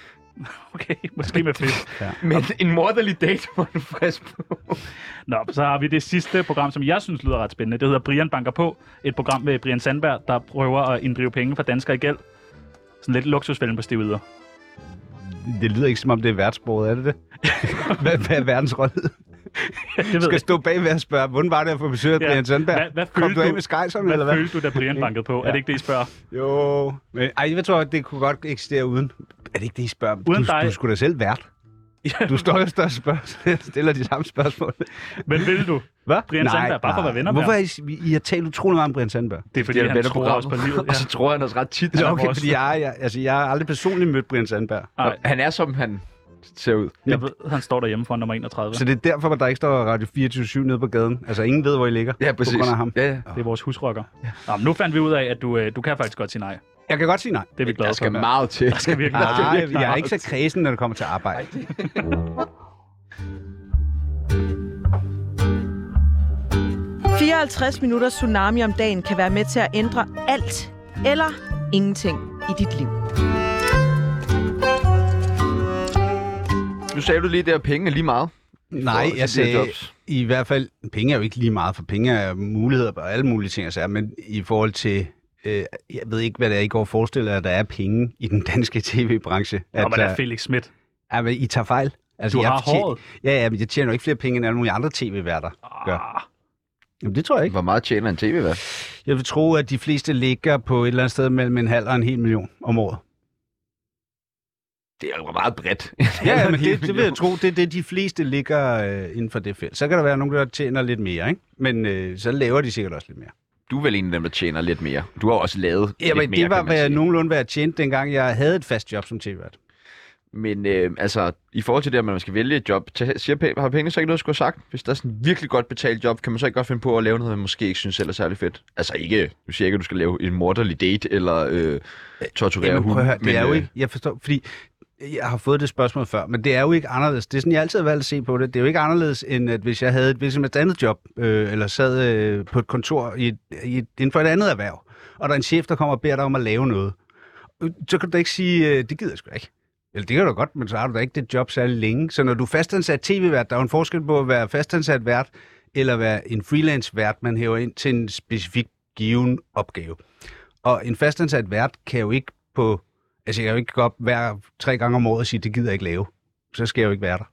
D: Okay, måske med fisk.
A: Men en morderlig date, hvor du er frisk på.
D: Nå, så har vi det sidste program, som jeg synes lyder ret spændende. Det hedder Brian Banker på. Et program med Brian Sandberg, der prøver at inddrive penge fra danskere i gæld. Sådan lidt luksusfælden på (laughs) stivider.
C: Det lyder ikke, som om det er værtsbordet, er det (laughs) det? hvad, hvad er verdensrollet?
D: Det ved
C: Du
D: jeg
C: skal stå bagved og spørge, hvordan var det at få besøg af
D: Ja.
C: Brian Sandberg?
D: Hvad- hvad
C: Kom
D: følte
C: du af
D: du-
C: med skejserne,
D: Hvad,
C: eller hvad?
D: følte du, da Brian bankede på? (laughs) Ja. Er det ikke det, I spørger?
C: Jo, men ej, jeg tror, det kunne godt eksistere uden. Er det ikke det, I spørger? om?
D: Uden
C: du,
D: dig.
C: du skulle da selv vært.
D: Ja.
C: Du står jo der og spørger, (laughs) stiller de samme spørgsmål.
D: Men vil du?
C: Hvad?
D: Brian Sandberg, bare for at være venner med
C: Hvorfor er I, I har talt utrolig meget om Brian Sandberg?
D: Det er fordi,
A: Det er
D: han
A: bedre
D: tror også på livet.
A: programmet.
D: (laughs)
A: Og (laughs) så tror jeg han også ret tit.
C: Det
D: er
C: er okay,
D: vores-
C: fordi jeg, jeg, altså, jeg har aldrig personligt mødt Brian Sandberg.
D: Ja. Ej,
A: Han er, som han ser ud.
D: jeg ved, han står derhjemme foran nummer 31.
C: Så det er derfor, at der ikke står Radio 24-7 nede på gaden. Altså, ingen ved, hvor I ligger.
A: Ja, præcis.
C: På grund af ham.
A: Ja, ja.
D: Det er vores husrocker. Ja. Nå, nu fandt vi ud af, at du, øh, du kan faktisk godt sige nej.
C: Jeg kan godt sige nej.
D: Det er vi glade
A: Der
D: for.
A: skal meget til.
D: Der skal virkelig (laughs)
C: Nej, jeg er ikke så kredsen, når det kommer til arbejde.
E: det. 54 minutter tsunami om dagen kan være med til at ændre alt eller ingenting i dit liv.
A: Nu sagde du lige der, at penge er lige meget.
C: Nej,
A: til de her
C: jeg sagde
A: jobs.
C: i hvert fald, penge er jo ikke lige meget, for penge er muligheder og alle mulige ting, altså, er, men i forhold til, øh, jeg ved ikke, hvad det er, I går og forestiller, jer, at der er penge i den danske (laughs) tv-branche.
D: Nå, men
C: Altså,
D: der er Felix Schmidt.
C: Ja, men I tager fejl. Altså,
D: Du
C: jeg
D: har
C: fortjener-
D: håret. Ah.
C: Ja, ja, men jeg tjener jo ikke flere penge, end alle mulige andre tv-værter gør. Jamen, det tror jeg ikke.
A: Hvor meget tjener en tv hvad?
C: Jeg vil tro, at de fleste ligger på et eller andet sted mellem en halv og en hel million om året.
A: Det er jo meget bredt.
C: Ja,
A: (laughs)
C: (laughs) ja men det, det vil jeg tro, det er det, de fleste ligger øh, inden for det felt. Så kan der være nogen, der tjener lidt mere, ikke? Men øh, så laver de sikkert også lidt mere.
A: Du er vel en af dem, der tjener lidt mere. Du har også lavet lidt
C: Jamen,
A: mere,
C: det var,
A: kan man
C: hvad jeg
A: sige.
C: nogenlunde hvad jeg tjente, dengang jeg havde et fast job som tv-vært.
A: Men øh, altså, i forhold til det, at man skal vælge et job, t- siger pæ- har penge så ikke noget at skulle have sagt? Hvis der er sådan et virkelig godt betalt job, kan man så ikke godt finde på at lave noget, man måske ikke synes selv er særlig fedt? Altså ikke, du siger ikke, at du skal lave en morderlig date, eller øh, torturere
C: Jamen, prøv
A: hunden.
C: at høre, det er jo
A: øh,
C: ikke, jeg forstår, fordi jeg har fået det spørgsmål før, men det er jo ikke anderledes. Det er sådan, jeg altid har valgt at se på det. Det er jo ikke anderledes, end at hvis jeg havde et, hvis et andet job, øh, eller sad øh, på et kontor i et, i et, inden for et andet erhverv, og der er en chef, der kommer og beder dig om at lave noget, øh, så kan du da ikke sige, øh, det gider jeg sgu da ikke. Eller det kan du godt, men så har du da ikke det job særlig længe. Så når du er fastansat tv-vært, der er jo en forskel på at være fastansat vært, eller være en freelance-vært, man hæver ind til en specifik given opgave. Og en fastansat vært kan jo ikke på... Altså, jeg kan jo ikke gå op hver tre gange om året og sige, det gider jeg ikke lave. Så skal jeg jo ikke være der.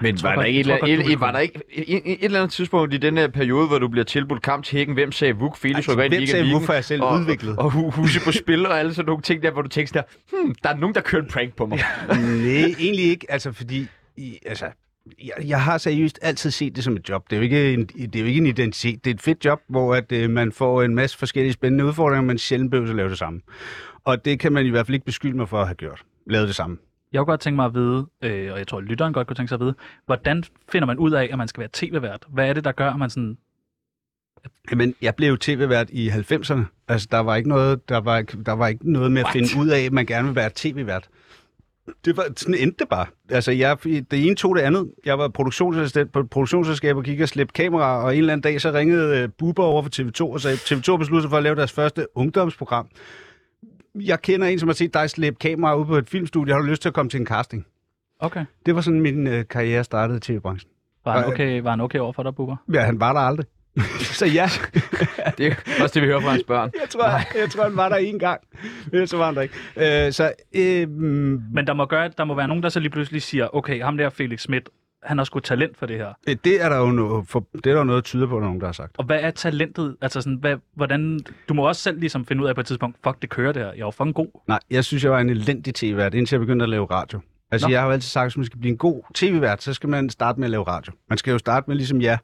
A: Men
D: tror
A: var der,
D: godt-
A: ikke et,
D: jeg tror
A: eller-
D: godt, du
A: et,
D: ville
A: et, var der ikke et, et eller andet tidspunkt i den her periode, hvor du bliver tilbudt kamp til hækken, hvem sagde Vuk, Felix rykker ind i
C: hvem sagde
A: Liga
C: Vuk, for jeg selv
A: og,
C: udviklet?
A: Og, hu- huse på spil og alle sådan nogle ting der, hvor du tænker sådan der, hmm, der er nogen, der kører en prank på mig.
C: Nej, egentlig ikke. Altså, fordi... I, altså, jeg, jeg har seriøst altid set det som et job. Det er jo ikke en, det er jo ikke en identitet. Det er et fedt job, hvor at, øh, man får en masse forskellige spændende udfordringer, men sjældent behøver at lave det samme. Og det kan man i hvert fald ikke beskylde mig for at have gjort. Lavet det samme.
D: Jeg kunne godt tænke mig at vide, øh, og jeg tror, at lytteren godt kunne tænke sig at vide, hvordan finder man ud af, at man skal være tv-vært? Hvad er det, der gør, at man sådan...
C: Jamen, jeg blev jo tv-vært i 90'erne. Altså, der var ikke noget, der var, der var ikke noget med at
A: What?
C: finde ud af, at man gerne vil være tv-vært. Det var, sådan endte det bare. Altså, jeg, det ene tog det andet. Jeg var produktionsassistent på et produktionsselskab og gik og slæbte kameraer, og en eller anden dag så ringede øh, Bubber over for TV2 og sagde, TV2 besluttede sig for at lave deres første ungdomsprogram. Jeg kender en, som har set dig slæbe kameraer ude på et filmstudie. Har du lyst til at komme til en casting?
D: Okay.
C: Det var sådan, min øh, karriere startede i tv-branchen.
D: Var han
C: Og-
D: okay, var han okay over for dig, Bubber?
C: Ja, han var der aldrig. (laughs) så ja,
G: (laughs) Det er jo også det, vi hører fra hans børn.
C: jeg tror, jeg tror, han var der én gang. Ellers så var han der ikke. Øh, så, øh,
D: Men der må, gøre, der må være nogen, der så lige pludselig siger, okay, ham der Felix Schmidt, han har sgu talent for det her.
C: det er der jo noget, for, det er der jo noget, der tyder på, at der er nogen, der har sagt.
D: Og hvad er talentet? Altså sådan, hvad, hvordan... Du må også selv ligesom finde ud af på et tidspunkt, fuck, det kører det her. Jeg er jo fucking god.
C: Nej, jeg synes, jeg var en elendig tv-vært, indtil jeg begyndte at lave radio. Altså,
D: Nå.
C: Nå. jeg har jo altid sagt, at hvis man skal blive en god tv-vært, så skal man starte med at lave radio. Man skal jo starte med, ligesom jeg,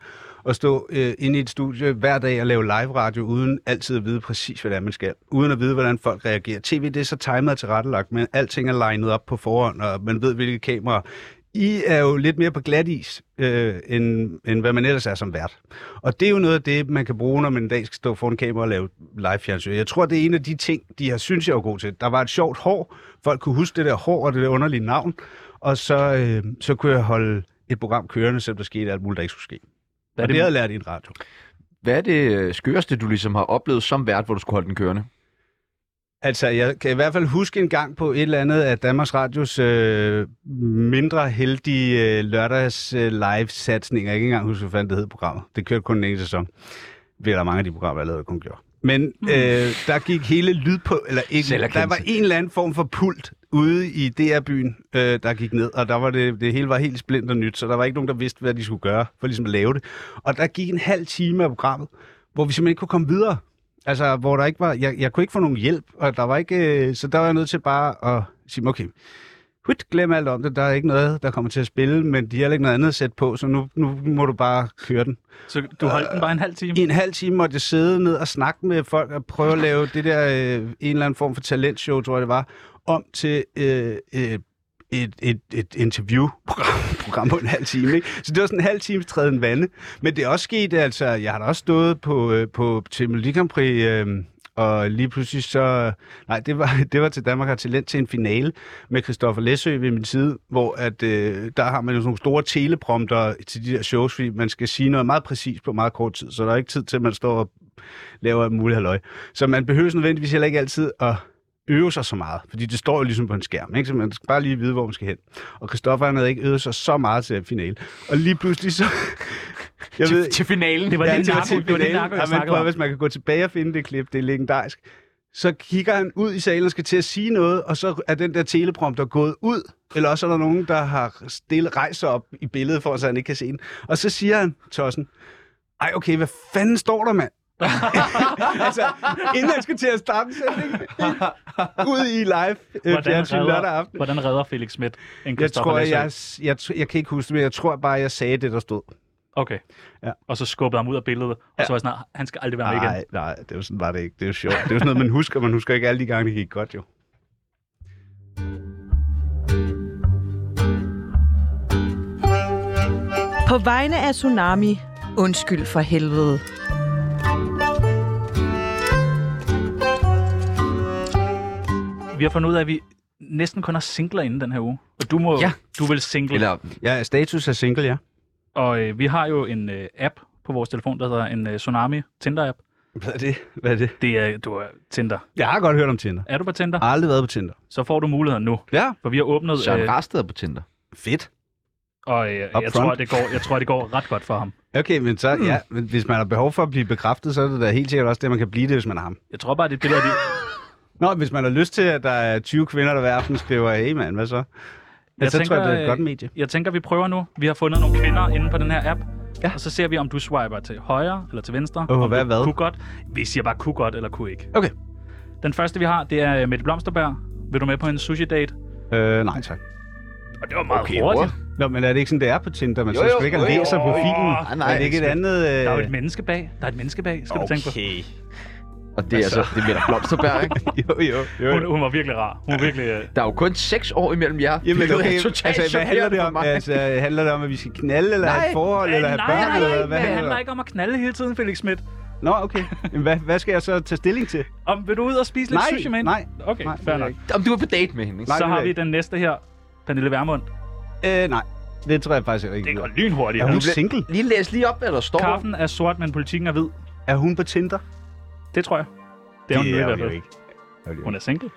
C: at stå øh, inde i et studie hver dag og lave live-radio, uden altid at vide præcis, hvad det er, man skal. Uden at vide, hvordan folk reagerer. TV, det er så timet og tilrettelagt, men alting er lined op på forhånd, og man ved, hvilke kameraer. I er jo lidt mere på glat is, øh, end, end hvad man ellers er som vært. Og det er jo noget af det, man kan bruge, når man en dag skal stå foran kamera og lave live fjernsyn. Jeg tror, det er en af de ting, de har synes, jeg var god til. Der var et sjovt hår. Folk kunne huske det der hår og det der underlige navn. Og så, øh, så kunne jeg holde et program kørende, selvom der skete alt muligt, der ikke skulle ske.
D: Hvad er
C: og det,
D: det-
C: det havde jeg lært i en radio.
A: Hvad er det øh, skøreste, du ligesom har oplevet som vært, hvor du skulle holde den kørende?
C: Mm. Altså, jeg kan i hvert fald huske en gang på et eller andet af Danmarks Radios øh, mindre heldige øh, lørdags øh, live-satsninger. Jeg kan ikke engang huske, hvad fanden det hed programmet. Det kørte kun en enkelt sæson. Ved der er mange af de programmer, jeg lavede, der kun gjorde. Men øh, der gik hele lyd på, eller ikke,
A: Selverkendelse.
C: der var en eller anden form for pult ude i DR-byen, øh, der gik ned, og der var det, det hele var helt splint og nyt, så der var ikke nogen, der vidste, hvad de skulle gøre for ligesom at lave det. Og der gik en halv time af programmet, hvor vi simpelthen ikke kunne komme videre. Altså, hvor der ikke var, jeg, jeg kunne ikke få nogen hjælp, og der var ikke, øh, så der var jeg nødt til bare at sige, okay, Huit, glem alt om det. Der er ikke noget, der kommer til at spille, men de har heller ikke noget andet at sætte på, så nu, nu må du bare køre den.
D: Så du holdt den bare en halv time?
C: I en halv time måtte jeg sidde ned og snakke med folk og prøve at lave det der øh, en eller anden form for talentshow, tror jeg det var, om til øh, øh, et, et, et interviewprogram (laughs) program på en halv time. Ikke? Så det var sådan en halv times træden vande. Men det er også sket, altså, jeg har da også stået på, øh, på til Melodi Grand Prix, øh, og lige pludselig så... Nej, det var, (laughs) det var til Danmark har talent til en finale med Christoffer Læsø ved min side, hvor at, øh, der har man jo sådan nogle store teleprompter til de der shows, fordi man skal sige noget meget præcist på meget kort tid, så der er ikke tid til, at man står og laver alt muligt halløj. Så man behøver nødvendigvis heller ikke altid at øve sig så meget, fordi det står jo ligesom på en skærm, ikke? så man skal bare lige vide, hvor man skal hen. Og Christoffer han havde ikke øvet sig så meget til den finale. Og lige pludselig så... (laughs) Jeg
G: Til, til finalen.
D: Det var lidt
C: det var
D: narko,
C: til
D: det var lidt
C: finalen.
D: narko,
C: Ja,
D: jeg
C: men
D: snakkede
C: prøv,
D: om.
C: Hvis man kan gå tilbage og finde det klip, det er legendarisk. Så kigger han ud i salen og skal til at sige noget, og så er den der teleprompter gået ud. Eller også er der nogen, der har stille rejser op i billedet, for så han ikke kan se den. Og så siger han, Tossen, ej okay, hvad fanden står der, mand? (laughs) altså, inden han skal til at starte sætningen, ud i live øh,
D: Hvordan
C: fjernsyn lørdag
D: redder,
C: aften.
D: hvordan redder Felix Schmidt en
C: Jeg
D: Christoffer
C: tror, jeg,
D: Lasse?
C: jeg, jeg, jeg kan ikke huske det, men jeg tror bare, jeg sagde det, der stod.
D: Okay.
C: Ja.
D: Og så skubbede ham ud af billedet, og så var jeg sådan, "Nej, han skal aldrig være med igen.
C: Nej, nej, det var sådan var det ikke. Det er jo sjovt. Det er jo sådan noget, man husker. Man husker ikke alle de gange, det gik godt jo.
E: På vegne af Tsunami, undskyld for helvede.
D: Vi har fundet ud af, at vi næsten kun har singler inden den her uge. Og du må,
A: Ja.
D: du vil single.
A: Eller
C: Ja, status er single, ja.
D: Og øh, vi har jo en øh, app på vores telefon, der hedder en øh, Tsunami Tinder-app.
C: Hvad er det? Hvad er det?
D: Det er, du er Tinder.
C: Jeg har godt hørt om Tinder.
D: Er du på Tinder?
C: Jeg har aldrig været på Tinder.
D: Så får du muligheden nu.
C: Ah. Ja.
D: For vi har åbnet,
A: Søren
D: øh,
A: Rasted er på Tinder.
C: Fedt.
D: og øh, jeg,
C: Upfront.
D: tror, det går, jeg tror, det går ret godt for ham.
C: Okay, men så, ja, men hvis man har behov for at blive bekræftet, så er det da helt sikkert også det, man kan blive det, hvis man har ham.
D: Jeg tror bare, det er det, der... De...
C: Nå, hvis man har lyst til, at der er 20 kvinder, der hver aften skriver, hey mand, hvad så? Ja, så tror jeg, det er et
D: øh,
C: godt medie.
D: Jeg tænker, vi prøver nu. Vi har fundet nogle kvinder inde på den her app. Ja. Og så ser vi, om du swiper til højre eller til venstre.
C: Åh,
D: om
C: hvad
D: du
C: er hvad?
D: Kunne godt. Vi siger bare, kunne godt eller kunne ikke.
C: Okay.
D: Den første, vi har, det er øh, Mette Blomsterberg. Vil du med på en sushi-date?
C: Øh, nej, tak.
D: Og det var meget
A: Okay,
D: hurtigt.
A: bror.
C: Nå, men er det ikke sådan, det er på Tinder? Man
A: Jo,
C: jo, jo, Ah,
A: jo,
C: skal ikke
A: jo,
C: og
A: jo.
C: læser profilen.
A: Nej, nej,
C: er det ikke et
A: slet-
C: andet... Øh...
D: Der er jo et menneske bag. Der er et menneske bag, skal du tænke på.
C: Okay.
A: Og det er altså, det er Mette Blomsterberg,
C: (laughs)
A: ikke?
C: (laughs) Jo, jo, jo.
D: Hun, hun var virkelig rar. Hun var virkelig... Øh,
A: Der er jo kun seks år imellem jer.
C: Jamen,
A: Det er
C: okay,
A: totalt
C: altså, hvad handler det
A: chokerende for
C: om?
A: mig.
C: Altså, handler det om, at vi skal knalde, eller
A: Nej.
C: have et forhold, eller have børn,
D: nej,
C: eller
D: nej,
C: hvad
D: det
C: handler
D: handler
C: det om?
D: ikke om at knalde hele tiden, Felix Schmidt.
C: Nå, okay. Jamen, hvad, hvad skal jeg så tage stilling til?
D: Om vil du ud og spise lidt
C: Nej,
D: sushi med hende?
C: nej,
D: Okay,
C: nej,
D: nej,
C: det
D: fair
C: vil jeg
D: nok.
C: ikke.
A: Om du er på date med hende, ikke?
C: Nej,
D: Så
C: det
D: har
C: vil jeg
D: vi
C: ikke.
D: den næste her. Pernille Vermund.
C: Øh, nej. Det tror jeg faktisk ikke.
D: Det
C: jeg
D: går
C: gider.
D: lynhurtigt.
C: Er hun
D: her.
C: single?
A: Lige læs lige op, hvad der står.
D: Kaffen er sort, men politikken er hvid.
C: Er hun på Tinder?
D: Det tror jeg. Det er hun nu i hvert
C: jo
D: fald.
C: ikke. Er hun jo
D: Hun er single.
C: ikke.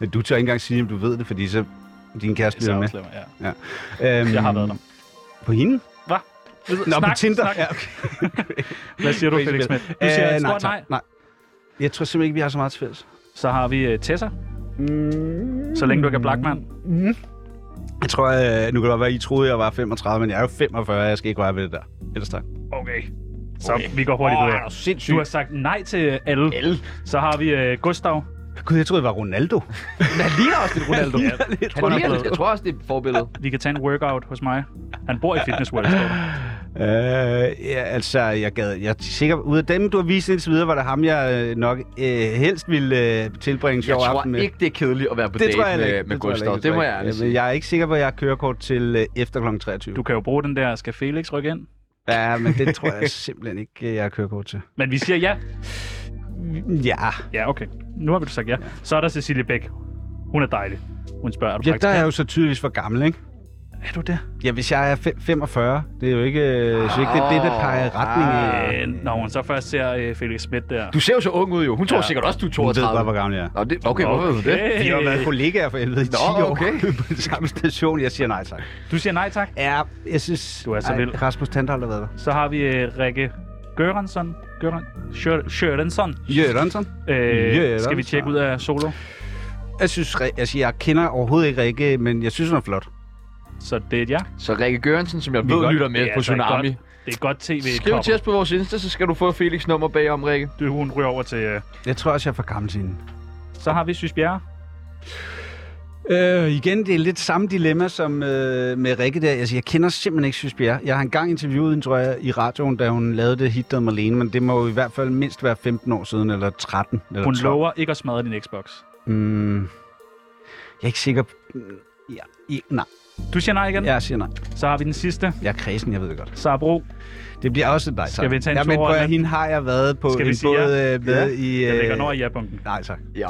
C: Men du tør ikke engang sige, om du ved det, fordi så din kæreste
D: Så
C: bliver med.
D: afslører jeg, ja.
C: Øhm,
D: Jeg har været der.
C: På hende?
D: Hvad?
C: Nå, på Tinder.
D: Snak.
C: Ja, okay.
D: Hvad siger du,
C: Crazy
D: Felix
C: man.
D: Schmidt? Du siger
C: Øh,
D: et
C: nej,
D: stort
C: tak.
D: nej.
C: nej. Jeg tror simpelthen ikke, vi har så meget til fælles.
D: Så har vi øh, Tessa.
C: Mm.
D: Så længe du ikke er blackman.
C: Jeg tror, øh, nu kan det godt være, I troede, jeg var 35, men jeg er jo 45, jeg skal ikke røre ved det der. Ellers tak.
D: Okay. Så vi går hurtigt ud af.
C: sindssygt.
D: Du har sagt nej til alle.
A: Alle.
D: Så har vi øh, Gustav.
C: Gud, jeg troede, det var
A: (laughs)
C: Ronaldo.
A: Han ligner også lidt Ronaldo.
C: Ja, lidt
A: Han
D: Ronaldo.
A: ligner lidt. Jeg tror også, det er forbilledet.
D: Vi kan tage en workout hos mig. Han
C: (laughs)
D: bor i Fitness World. står der.
C: Øh, ja, altså, jeg, gad, jeg er sikker, ud af dem, du har vist indtil videre, var det ham, jeg øh, nok øh, helst ville øh, tilbringe en
A: Jeg
C: sjov
A: tror
C: aften med.
A: ikke, det er kedeligt at være på
C: det
A: date
C: tror jeg
A: med,
C: ikke.
A: med
C: tror jeg
A: Gustav.
C: ikke,
A: Det må
C: tror
A: jeg ærligt
C: Men
A: sige.
C: jeg er ikke sikker på, at jeg har kørekort til øh, efter kl. 23.
D: Du kan jo bruge den der, skal Felix rykke ind?
C: Ja, men
A: (laughs)
C: det tror jeg simpelthen ikke, øh, jeg har kørekort til.
D: Men vi siger ja.
C: Ja,
D: Ja, okay. Nu har vi sagt ja. Så er der Cecilie Bæk. Hun er dejlig. Hun spørger, er du
C: ja der er
D: praktikant?
C: jeg jo så tydeligvis for gammel, ikke?
D: Er du der?
C: Ja, hvis jeg er fem- 45, det er jo ikke, øh, så ikke det, er det, der peger i retning
A: Ah,
C: af.
D: Øh, når hun så først ser øh, Felix Schmidt der.
A: Du ser jo så ung ud, jo. Hun tror
D: Ja.
A: sikkert også, du er
C: Hun ved
A: 32.
C: bare, hvor gammel jeg er.
A: Nå, det, okay, hvorfor ved du det?
D: Okay.
C: Vi har jo været kollegaer for helvede i 10
A: Øh. Nå,
C: år
A: okay.
C: (laughs) på den samme station. Jeg siger nej tak.
D: Du siger nej tak.
C: Ja, jeg synes...
D: Du er så
C: Ej,
D: vild.
C: Rasmus Tandal har været der.
D: Så har vi øh, Rikke Gørensson. Gøren, Sjør- Sjørensson.
C: Jørgensen?
D: Øh, skal vi
C: Jørgensen.
D: tjekke ud af solo?
C: Jeg synes, re- altså, jeg kender overhovedet ikke Rikke, men jeg synes, hun er flot.
D: Så det er et ja.
A: Så Rikke Gørensen, som jeg
C: Vi
A: ved
C: godt-
A: lytter med
D: det er
A: på
D: altså et
A: Tsunami.
D: Godt, det er et godt tv
A: Skriv til os på vores Insta, så skal du få Felix nummer bagom, Rikke.
D: Du, hun ryger over til... Øh.
C: Jeg tror også, jeg er for gammel til hende.
D: Så har vi Sys Bjerre.
C: Øh, igen, det er lidt samme dilemma som øh, med Rikke der. Altså, jeg kender simpelthen ikke Sys Bjerre. Jeg har engang interviewet hende, tror jeg, i radioen, da hun lavede det hit, der Marlene, men det må jo i hvert fald mindst være 15 år siden, eller 13, eller
D: Hun
C: 12.
D: lover ikke at smadre din Xbox.
C: Mm, jeg er ikke sikker. Mm, Ja, i, nej,
D: Du siger nej igen.
C: jeg siger nej.
D: Så har vi den sidste.
C: Jeg er kredsen, jeg ved det godt.
D: Sara Bro.
C: Det bliver også et nej, tak.
D: Skal vi tage en
C: ja, men
D: toer
C: prøv, at
D: med?
C: hende har jeg været på
D: Skal vi
C: en
D: sige
C: båd
D: ja?
C: øh, med i...
D: Jeg
C: øh,
D: lægger når i ja-bunken.
C: Nej, tak.
A: Jo.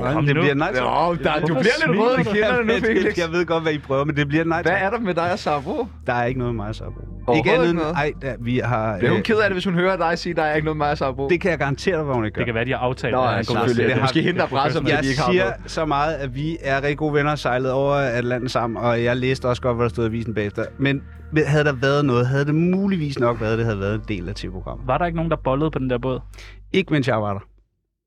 C: Nej, det
D: nu.
C: bliver et nej, tak.
A: Jo, der, du
D: Hvorfor
A: bliver lidt rød i
D: smiler du?
A: kinderne nu,
C: Jeg-
A: Felix.
C: Jeg ved godt, hvad I prøver, men det bliver et nej,
A: Hvad
C: tak.
A: er der med dig og Sabro?
C: Der er ikke noget med mig, så Ikke
A: Overhovedet
C: andet
A: ikke
C: end...
A: noget.
C: Ej, da, vi har...
A: Bliver hun
C: øh,
A: ked af det, hvis hun hører dig sige, der er ikke noget med mig og Sabro?
C: Det kan jeg garantere dig, hvad hun ikke gør.
D: Det kan være, de har aftalt.
A: Nå,
D: at
A: ja,
D: han kommer
A: selvfølgelig.
D: til-
A: Det er
C: har-
A: måske hende, der presser dem, at
C: Jeg
A: de ikke har noget.
C: siger så meget, at vi er rigtig gode venner og sejlede over Atlanten sammen, og jeg læste også godt, hvad der stod i avisen bagefter. Men havde der været noget, havde det muligvis nok været, at det havde været en del af TV-programmet.
D: Var der ikke nogen, der bollede på den der båd?
C: Ikke mens jeg var der.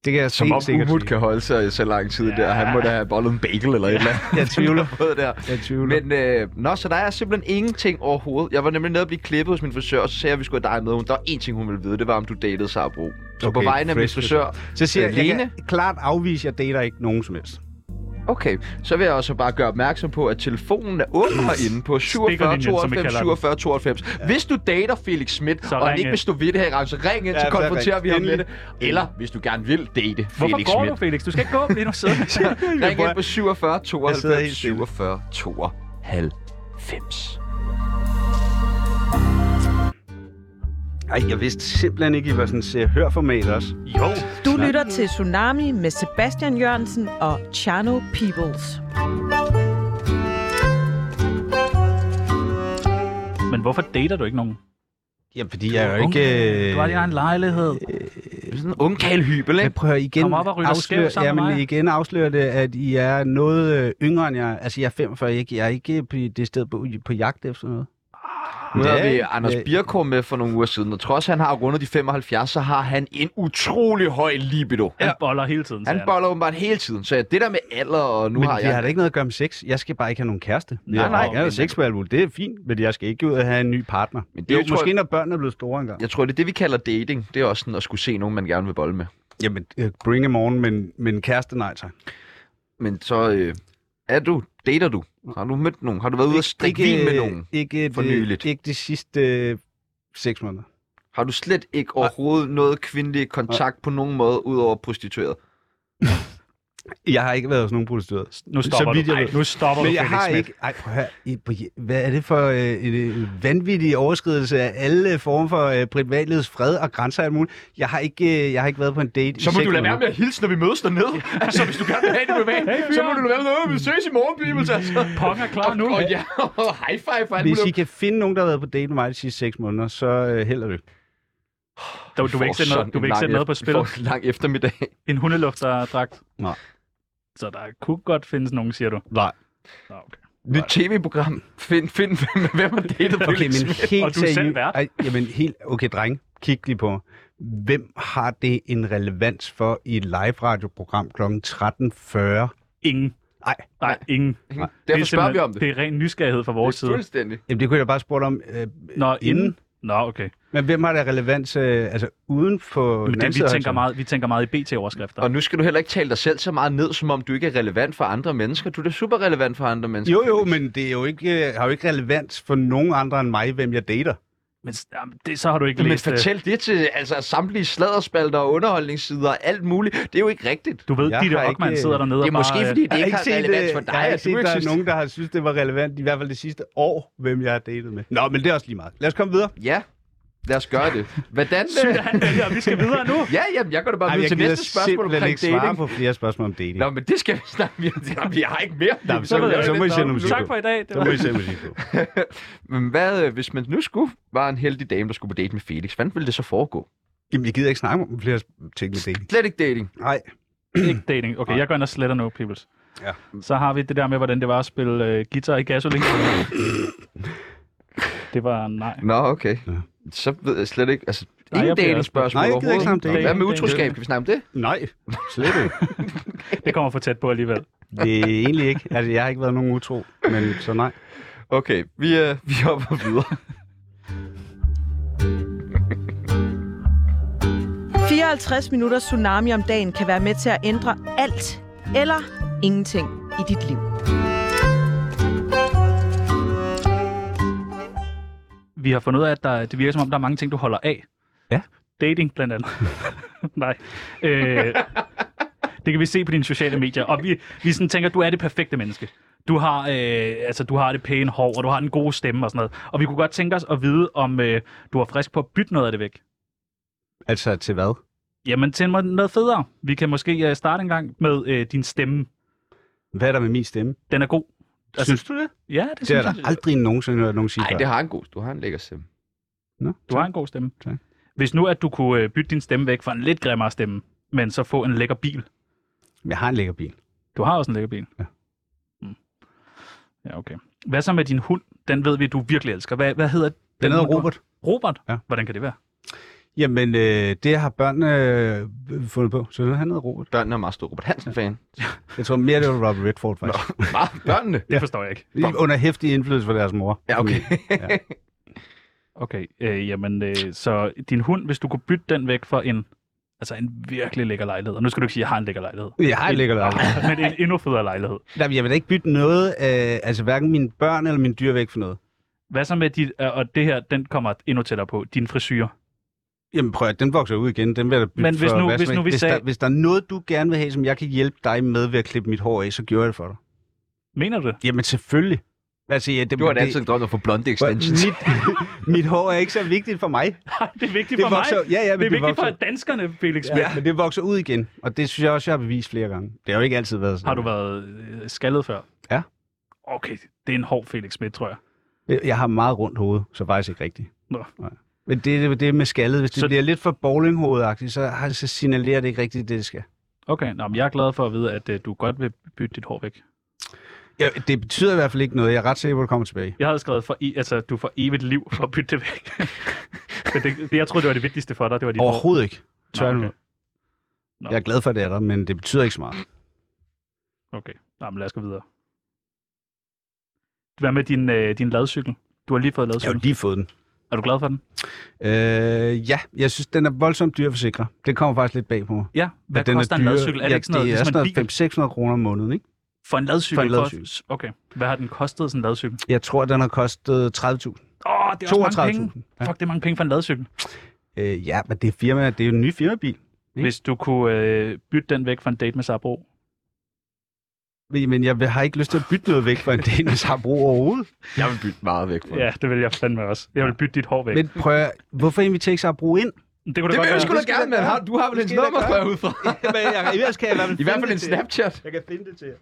C: Det kan jeg
A: Som om
C: helt sikkert
A: Ubud
C: sige.
A: kan holde sig i så lang tid der. Han må da have bollet en bagel eller et eller andet.
C: Jeg
A: (laughs)
C: tvivler.
A: Både der.
C: Jeg tvivler. Men...
A: Men øh, nå, så der er simpelthen ingenting overhovedet. Jeg var nemlig nede at blive klippet hos min frisør, og så sagde jeg, at vi skulle have dig med. Hun- Der var én ting, hun ville vide, det var, om du datede Sabro. Så
C: Okay,
A: på vegne af min
C: fresh
A: frisør,
C: Så siger jeg, jeg
A: Lene?
C: kan klart afvise, at jeg dater ikke nogen som helst.
A: Okay, så vil jeg også bare gøre opmærksom på, at telefonen er åben herinde på 47
D: Stikkerlinjen, som vi
A: 92
D: kalder den.
A: 47 92. Hvis du dater Felix Schmidt,
D: Så
A: og han
D: ring
A: ikke
D: ind.
A: vil stå ved det her i gang, så ring ind,
C: Ja,
A: så
C: så
A: konfronterer
C: ring.
A: vi ham med det.
C: Endelig.
A: Eller hvis du gerne vil date
D: Hvorfor
A: Felix
D: går
A: Schmidt,
D: du, Felix? Du skal ikke gå,
A: (laughs)
D: lige nu sidder vi.
A: ring ind på
C: Jeg sidder
A: 47
C: helt
A: 92
C: stille.
A: 47 92.
C: Ej, jeg vidste simpelthen ikke, I var sådan se hør format også.
D: Jo.
E: Du lytter til Tsunami med Sebastian Jørgensen og Chano Peoples.
D: Men hvorfor dater du ikke nogen?
C: Ja, fordi jeg er jo
D: ung.
C: ikke... øh,
D: Du har din egen lejlighed.
A: Det er sådan en ung Karl Hybel,
C: Jeg
A: ikke?
C: prøver igen
D: Kom op og ryg dig skæv sammen med
C: jamen,
D: mig.
C: igen afslører det, at I er noget øh, yngre end jeg. Altså, jeg er 45, ikke? jeg er ikke på det sted på, på jagt efter noget.
A: Ah, Nu havde
C: Ja,
A: vi
C: ikke?
A: Anders
C: Ja.
A: Birkår med for nogle uger siden, og trods han har rundet de 75, så har han en utrolig høj libido.
D: Han boller hele tiden,
A: Han
D: siger
A: boller åbenbart hele tiden, så det der med alder, og nu
C: men
A: har
C: vi
A: jeg...
C: har da ikke noget at gøre med sex. Jeg skal bare ikke have nogen kæreste.
D: Nej,
C: jeg,
D: nej,
C: Jeg er jo
D: men-
C: sexualvul, det er fint, men jeg skal ikke ud og have en ny partner.
A: Men
C: Men
A: det
C: det er jo
A: tror jeg-
C: måske, når børnene er blevet store engang.
A: Jeg tror, det er det, vi kalder dating. Det er også sådan at skulle se nogen, man gerne vil bolle med.
C: Jamen, øh, bring em on, men, men kæreste, nej tak.
A: Men så øh, er du, dater du? Har du mødt nogen? Har du været ude og strikke vin med
C: øh,
A: nogen?
C: Ikke, det-
A: for nyligt.
C: ikke de sidste øh, seks måneder.
A: Har du slet ikke overhovedet noget kvindelig kontakt på nogen måde, udover prostitueret?
C: Jeg har ikke været hos nogen prostitueret.
D: Nu stopper
C: Så vidt
D: du.
C: jeg
D: Ej,
C: ved.
D: nu stopper
C: Men
D: du,
C: jeg
D: Felix
C: har
D: Schmidt.
C: ikke... Ej, prøv at høre. I- på- Hvad er det for øh, en øh, vanvittig overskridelse af alle former for øh, privatlivets fred og grænser og alt muligt? Jeg har ikke, øh, jeg har ikke været på en date i
G: Så må
C: seks
G: du lade være
C: måneder.
G: med at hilse, når vi mødes dernede. (laughs) altså, hvis du gerne vil have det privat, hey, så må du lade være med at vi ses i morgen, Bibels. Altså.
D: (laughs) Kongen er klar nu.
G: Og, og ja, (laughs) og high five og alt
C: Hvis I
G: muligt.
C: kan finde nogen, der har været på date med mig de sidste 6 måneder, så øh, held og lykke.
D: Du, du vil ikke sætte noget, du vil ikke sætte noget på spil.
A: Vi får en lang eftermiddag.
D: En hundelufterdragt.
C: Nej.
D: Så der kunne godt findes nogen, siger du.
C: Nej.
D: Nå, okay.
A: Nyt tv-program. Find, find (laughs) hvem,
G: (laughs)
A: hvem har datet på
C: Okay, men helt
D: Og du er selv
C: seriøst-
D: vært.
C: Ej, jamen helt... Okay, dreng, kig lige på mig. Hvem har det en relevans for i et live-radioprogram kl. 13.40?
D: Ingen.
C: Nej.
D: Nej, ingen. Det
A: Derfor spørger vi
D: simpelthen-
A: om det.
D: Det er ren nysgerrighed fra vores side.
A: Fuldstændig.
C: Jamen, det kunne jeg da bare spørge om øh,
D: Nå,
C: inden.
D: inden? Nå, okay.
C: Men hvem har der relevans øh, altså, uden for...
D: Men det, vi,
C: landsted,
D: tænker
C: altså?
D: meget, vi tænker meget i BT-overskrifter.
A: Og nu skal du heller ikke tale dig selv så meget ned, som om du ikke er relevant for andre mennesker. Du er da super relevant for andre mennesker.
C: Jo, jo, men det er jo ikke, øh, har jo ikke relevans for nogen andre end mig, hvem jeg dater.
D: Men s- jamen, det, så har du ikke
A: Men
D: læst øh,
A: fortæl det til altså, samtlige sladderspalter og underholdningssider og alt muligt. Det er jo ikke rigtigt.
D: Du ved,
C: Jeg
D: Ditte
C: har
D: Ockmann
C: ikke, øh,
D: sidder dernede
A: Det er
D: og bare...
A: måske, fordi det
C: Jeg har
A: ikke har
C: set,
A: relevans
C: øh,
A: for
C: Jeg
A: dig,
C: har
A: at
C: ikke
A: du
C: set,
A: ikke
C: der
A: synes
C: er nogen, der har synes, det var relevant, i hvert fald det sidste år, hvem jeg har datet med. Nå, men det er også lige meget. Lad os komme videre.
A: Ja, lad os gøre det.
C: (laughs)
A: Hvordan...
D: Sygt,
A: øh,
D: at han vælger, og vi skal videre nu.
A: Ja, jamen, jeg går da bare
C: Ej,
A: videre
C: jeg
A: til
C: gider
A: næste spørgsmål
C: simpelthen
A: omkring
C: ikke svare
A: dating.
C: på flere spørgsmål om dating.
A: Nå, men det skal vi snakke vi,
C: (laughs)
A: vi har ikke mere.
C: Nå, men så, så, så må I sende
D: Nå,
C: musik
D: tak
C: på.
D: for i dag. Det
C: Så
D: var...
C: må I sende musik på.
A: (laughs) Men hvad, øh, hvis man nu skulle, var en heldig dame, der skulle på date med Felix, hvordan ville det så foregå?
C: Jamen, jeg gider ikke snakke om flere ting med dating.
A: Slet ikke dating.
C: Nej.
D: ikke dating. Okay, jeg går ind og sletter nu, peoples.
C: Ja.
D: Så har vi det der med, hvordan det var at spille øh, guitar i gasolin. det var nej.
A: Nå, okay.
C: Ja.
A: Så ved jeg slet ikke, altså,
D: Nej,
A: ingen
D: jeg bliver
A: dating
D: også-
A: spørgsmål
C: Nej, jeg gider ikke snakke om dating.
A: Hvad med
D: Dating,
A: utroskab?
D: dating.
A: Kan vi snakke om det?
C: Nej, slet ikke.
D: Det kommer for tæt på alligevel.
C: Det er egentlig ikke. Altså, jeg har ikke været nogen utro, men så nej.
A: Okay, vi,
C: (laughs)
A: øh, vi hopper videre.
E: 54 minutter tsunami om dagen kan være med til at ændre alt eller ingenting i dit liv.
D: Vi har fundet ud af, at der, det virker som om, der er mange ting, du holder af.
C: Ja.
D: Dating
C: (laughs)
D: blandt andet. nej. Øh, det kan vi se på dine sociale medier. Og vi, vi sådan tænker, du er det perfekte menneske. Du har, øh, altså, du har det pæne hår, og du har den gode stemme og sådan noget. Og vi kunne godt tænke os at vide, om øh, du er frisk på at bytte noget af det væk.
C: Altså, til hvad?
D: Jamen, tænd mig noget federe. Vi kan måske øh, starte en gang med øh, din stemme.
C: Hvad er der med min stemme?
D: Den er god. Altså-
C: Synes du det?
D: Ja, det,
C: Det
D: synes
C: har
D: jeg.
C: jeg da aldrig nogensinde hørt nogen sige
A: Nej,
C: før.
A: det har en god. Du har en lækker stemme.
C: Nå,
D: Du har en god stemme.
C: Tak.
D: Hvis nu, at du kunne øh, bytte din stemme væk for en lidt grimmere stemme, men så få en lækker bil.
C: Jeg har en lækker bil.
D: Du har også en lækker bil.
C: Ja.
D: Mm. Ja, okay. Hvad så med din hund? Den ved vi, du virkelig elsker. Hvad, hvad hedder den?
C: Den hedder
D: hund, du har?
C: Robert.
D: Robert?
C: Ja.
D: Hvordan kan det være?
C: Jamen, øh, det har børnene øh, fundet på. Så han hedder Robert.
A: Børnene er meget stor Robert Hansen-fan.
C: Jeg tror mere, det var Robert Redford, faktisk.
A: Bare børnene?
D: Det forstår jeg ikke.
C: Lige Under hæftig indflydelse fra deres mor.
A: Ja, okay.
D: Okay, øh, jamen, øh, så din hund, hvis du kunne bytte den væk for en, altså en virkelig lækker lejlighed. Og nu skal du ikke sige, at jeg har en lækker lejlighed.
C: Jeg har en lækker lejlighed.
D: men en endnu federe lejlighed.
C: Nej, men Jeg vil da ikke bytte noget, øh, altså hverken mine børn eller mine dyr væk for noget.
D: Hvad så med dit, øh, og det her, den kommer endnu tættere på, din frisyr.
C: Jamen prøv at, den vokser ud igen. Den vil jeg da bytte
D: Men hvis
C: for,
D: nu-
C: hvad som
D: hvis
C: helst.
D: nu vi
C: hvis,
D: sagde-
C: der, hvis der er noget, du gerne vil have, som jeg kan hjælpe dig med ved at klippe mit hår af, så gør jeg det for dig.
D: Mener du det?
C: Jamen selvfølgelig. Altså, ja,
A: (laughs)
C: det,
A: Du har da
C: det-
A: altid drømt om at få blonde
C: Prøv at-
A: extensions.
C: Mit, mit (laughs) hår er ikke så vigtigt for mig.
D: det er vigtigt
C: Det
D: for mig.
C: vokser- ja, ja, men
D: det er
C: det
D: vigtigt
C: vokser-
D: for danskerne, Felix.
C: Ja. Men det vokser ud igen, og det synes jeg også, jeg har bevist flere gange. Det har jo ikke altid været sådan.
D: Har du været øh, skaldet før?
C: Ja.
D: Okay, det er en hård Felix Schmidt, tror jeg.
C: Jeg- Jeg har meget rundt hoved, så faktisk ikke rigtigt.
D: Nå.
C: Nej. Men det, det, det med skaldet, hvis det
D: Så-
C: så... bliver lidt for bowlinghovedagtigt, så, har- så signalerer det ikke rigtigt det, det skal.
D: Okay, nå, men jeg er glad for at vide, at øh, du godt vil bytte dit hår væk.
C: Ja, det betyder i hvert fald ikke noget. Jeg er ret sikker på, at det kommer tilbage.
D: Jeg havde skrevet, for, e- altså, du får evigt liv for at bytte det væk. (laughs) Men det, det, jeg troede, det var det vigtigste for dig, det var dit hår.
C: Overhovedet ikke. Tværtimod.
D: Nå, okay. Nå.
C: Jeg er glad for, at det er der, men det betyder ikke så meget.
D: Okay, nå, men lad os gå videre. Hvad med din, øh, din ladcykel? Du har lige fået
C: Jeg har jo
D: ladcykel.
C: lige fået den.
D: Er du glad for den?
C: Øh, ja, jeg synes, den er voldsomt dyr at forsikre. Det kommer faktisk lidt bag på mig.
D: Ja. Hvad
C: At den
D: koster en
C: dyr.
D: ladcykel? Er det
C: Ja,
D: ikke sådan noget,
C: det er
D: ligesom en bil?
C: sådan noget 500-600 kroner om måneden, ikke?
D: For en ladcykel?
C: For en
D: for-
C: ladcykel.
D: Okay. Hvad har den kostet, sådan en ladcykel?
C: Jeg tror, den har kostet 30.000.
D: Åh, oh, det er også mange penge.
C: 32.000.
D: Ja.
C: Ja.
D: Fuck, det er mange penge for en ladcykel.
C: Øh, ja, men det er, firma, det er jo en ny firmabil.
D: Hvis du kunne øh, bytte den væk for en date med Sabro,
C: Men jeg har ikke lyst til at bytte noget væk fra en Danish Harbro overhovedet.
A: Jeg vil bytte meget væk fra.
D: Ja, det vil jeg fandme også. Jeg vil bytte dit hår væk. Men,
C: Men prøv at, hvorfor inviterer I ikke Harbro ind?
D: det kunne da
A: Det
D: godt
A: vil jeg
D: være.
A: sgu da gerne, men har, du har vel
C: Det
A: hendes
C: skal jeg da
A: nummer,
C: gøre.
A: går jeg ud fra.
C: (laughs) Men jeg, i hvert fald kan jeg i hvert fald,
A: I hvert fald
C: finde
A: en
C: det til jer.
A: Snapchat.
C: Jeg kan finde det til jer.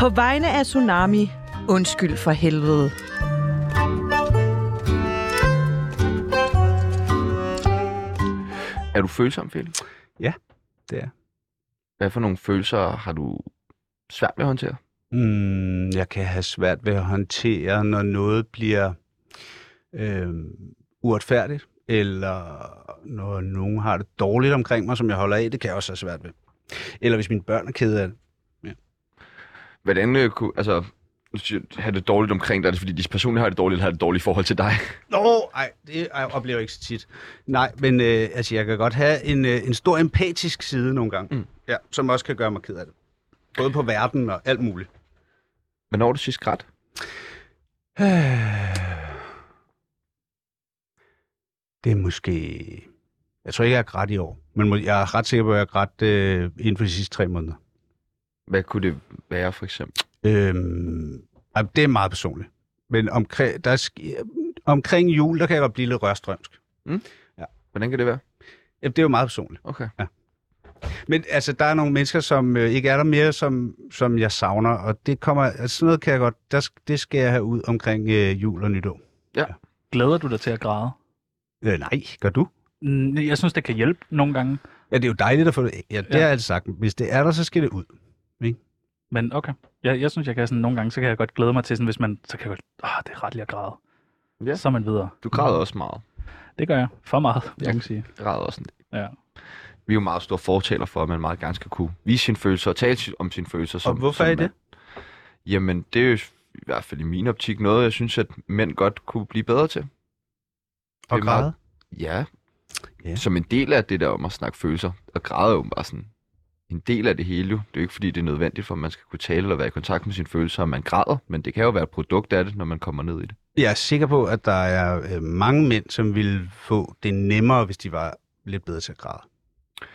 E: På vegne af Tsunami, undskyld for helvede.
A: Er du følsom, Felix?
C: Det er.
A: Hvad for nogle følelser har du svært ved at håndtere?
C: Mm, jeg kan have svært ved at håndtere, når noget bliver øh, uretfærdigt, eller når nogen har det dårligt omkring mig, som jeg holder af. Det kan jeg også have svært ved. Eller hvis mine børn er kede af det.
A: Hvordan øh, kunne, altså, nu siger du, have det dårligt omkring dig? Er det fordi, de personligt har det dårligt, eller har det dårligt i forhold til dig?
C: Nå, ej, det ej, jeg oplever jeg ikke så tit. Nej, men øh, altså, jeg kan godt have en, øh, en stor empatisk side nogle gange,
A: Mm.
C: mm. ja, som også kan gøre mig ked af det. Både på verden og alt muligt.
A: (laughs) Hvornår er du sidst grædt?
C: (sighs) Det er måske... Jeg tror ikke, jeg er grædt i år, men må- jeg er ret sikker på, at jeg er grædt øh, inden for de sidste tre måneder.
A: Hvad kunne det være, for eksempel?
C: Øhm, ej, det er meget personligt. Men omkring, der er, sk- omkring jul, der kan jeg godt blive lidt rørstrømsk.
A: Hvordan kan det være?
C: Jamen, Det er jo meget personligt.
A: Okay.
C: Men altså, der er nogle mennesker, som øh, ikke er der mere, som, som jeg savner, og det kommer, altså, sådan noget kan jeg godt, der, sk- det skal jeg have ud omkring øh, jul og nytår.
D: Glæder du dig til at græde?
C: Øh, nej, gør du?
D: Mm, Jeg synes, det kan hjælpe nogle gange.
C: Ja, det er jo dejligt at få det. Ja, det
D: Ja.
C: ja. er altid sagt. Hvis det er der, så skal det ud.
D: Men okay. Jeg, jeg synes, jeg kan sådan nogle gange, så kan jeg godt glæde mig til sådan, hvis man, så kan jeg godt, ah, det er ret lige at græde.
A: Ja.
D: Så er man videre.
A: Du græder også meget.
D: Det gør jeg. For meget, vil
A: Ja.
D: jeg sige.
A: Græder også en del.
D: Ja.
A: Vi er jo meget store fortaler for, at man meget gerne skal kunne vise sine følelser og tale om sine følelser. Som,
C: hvorfor
A: som
C: er I det?
A: mand. Jamen, det er jo i hvert fald i min optik noget, jeg synes, at mænd godt kunne blive bedre til.
C: Og
A: Det er meget-
C: græde.
A: Ja.
C: Ja.
A: Som en del af det der om at snakke følelser, og græde er jo bare sådan en del af det hele. jo. Det er jo ikke fordi, det er nødvendigt for, at man skal kunne tale eller være i kontakt med sine følelser, og man græder, men det kan jo være et produkt af det, når man kommer ned i det.
C: Jeg er sikker på, at der er øh, mange mænd, som ville få det nemmere, hvis de var lidt bedre til at græde.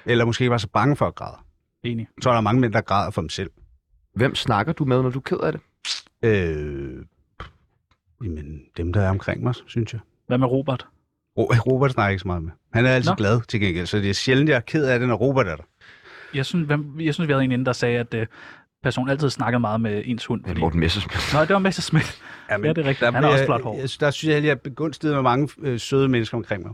C: Eller måske ikke var så bange for at græde.
D: Enig.
C: Jeg tror, der er mange mænd, der græder for dem selv.
A: Hvem snakker du med, når du er ked af det?
C: Øh, jamen, dem, der er omkring mig, synes jeg.
D: Hvad med Robert?
C: Ro- Robert snakker jeg ikke så meget med. Han er altid
D: Nå.
C: Nå. glad til gengæld, så det er sjældent, jeg er ked af det, når Robert er der.
D: Jeg synes, hvem, jeg synes vi havde en inden, der sagde, at øh, personen altid snakkede meget med ens hund.
A: Fordi... Morten Messersmith.
D: Nej, det var Messerschmidt.
C: Jamen,
D: Ja, det er rigtigt. Han har også flot hår.
C: Jeg, jeg, der synes jeg, at jeg er begunstiget med mange øh, søde mennesker omkring mig.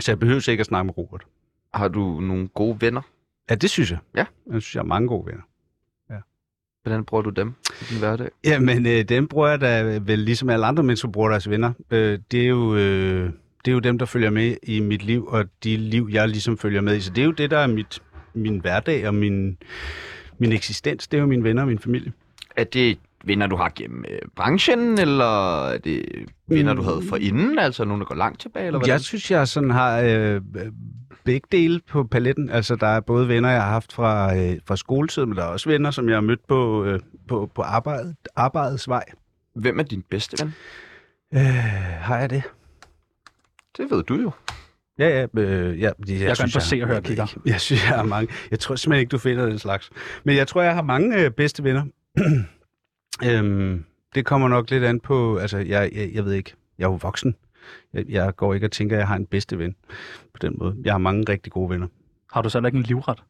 C: Så jeg behøver ikke at snakke med Robert.
A: (laughs) Har du nogle gode venner?
C: Ja, det synes jeg.
A: Ja.
C: Jeg synes, jeg har mange gode venner.
A: Hvordan bruger du dem i din hverdag?
C: Jamen, øh, dem bruger jeg da vel ligesom alle andre mennesker bruger deres venner. Øh, det, er jo, øh, det er jo dem, der følger med i mit liv, og de liv, jeg ligesom følger med i. Så det er jo det, der er mit, min hverdag og min, min eksistens. Det er jo mine venner og min familie.
A: Er det venner, du har gennem øh, branchen, eller er det venner, du havde for inden? Altså nogen, der går langt tilbage, eller hvad?
C: Jeg synes, jeg sådan har øh, begge dele på paletten. Altså, der er både venner, jeg har haft fra, øh, fra skoletid, men der er også venner, som jeg har mødt på, øh, på, på arbejdet, arbejdets vej.
A: Hvem er din bedste ven?
C: Øh, har jeg det?
A: Det ved du jo.
C: Ja, ja. Øh, ja jeg, jeg,
D: kan
C: synes,
D: bare se og høre
C: jeg ved
D: kigger.
C: ikke. Jeg synes, jeg har mange. Jeg tror simpelthen ikke, du finder den slags. Men jeg tror, jeg har mange øh, bedste venner. (clears throat) øhm, det kommer nok lidt an på... Altså, jeg, jeg, jeg ved ikke. Jeg er jo voksen. Jeg, jeg går ikke og tænker, at jeg har en bedste ven på den måde. Jeg har mange rigtig gode venner.
D: Har du så heller ikke en livret?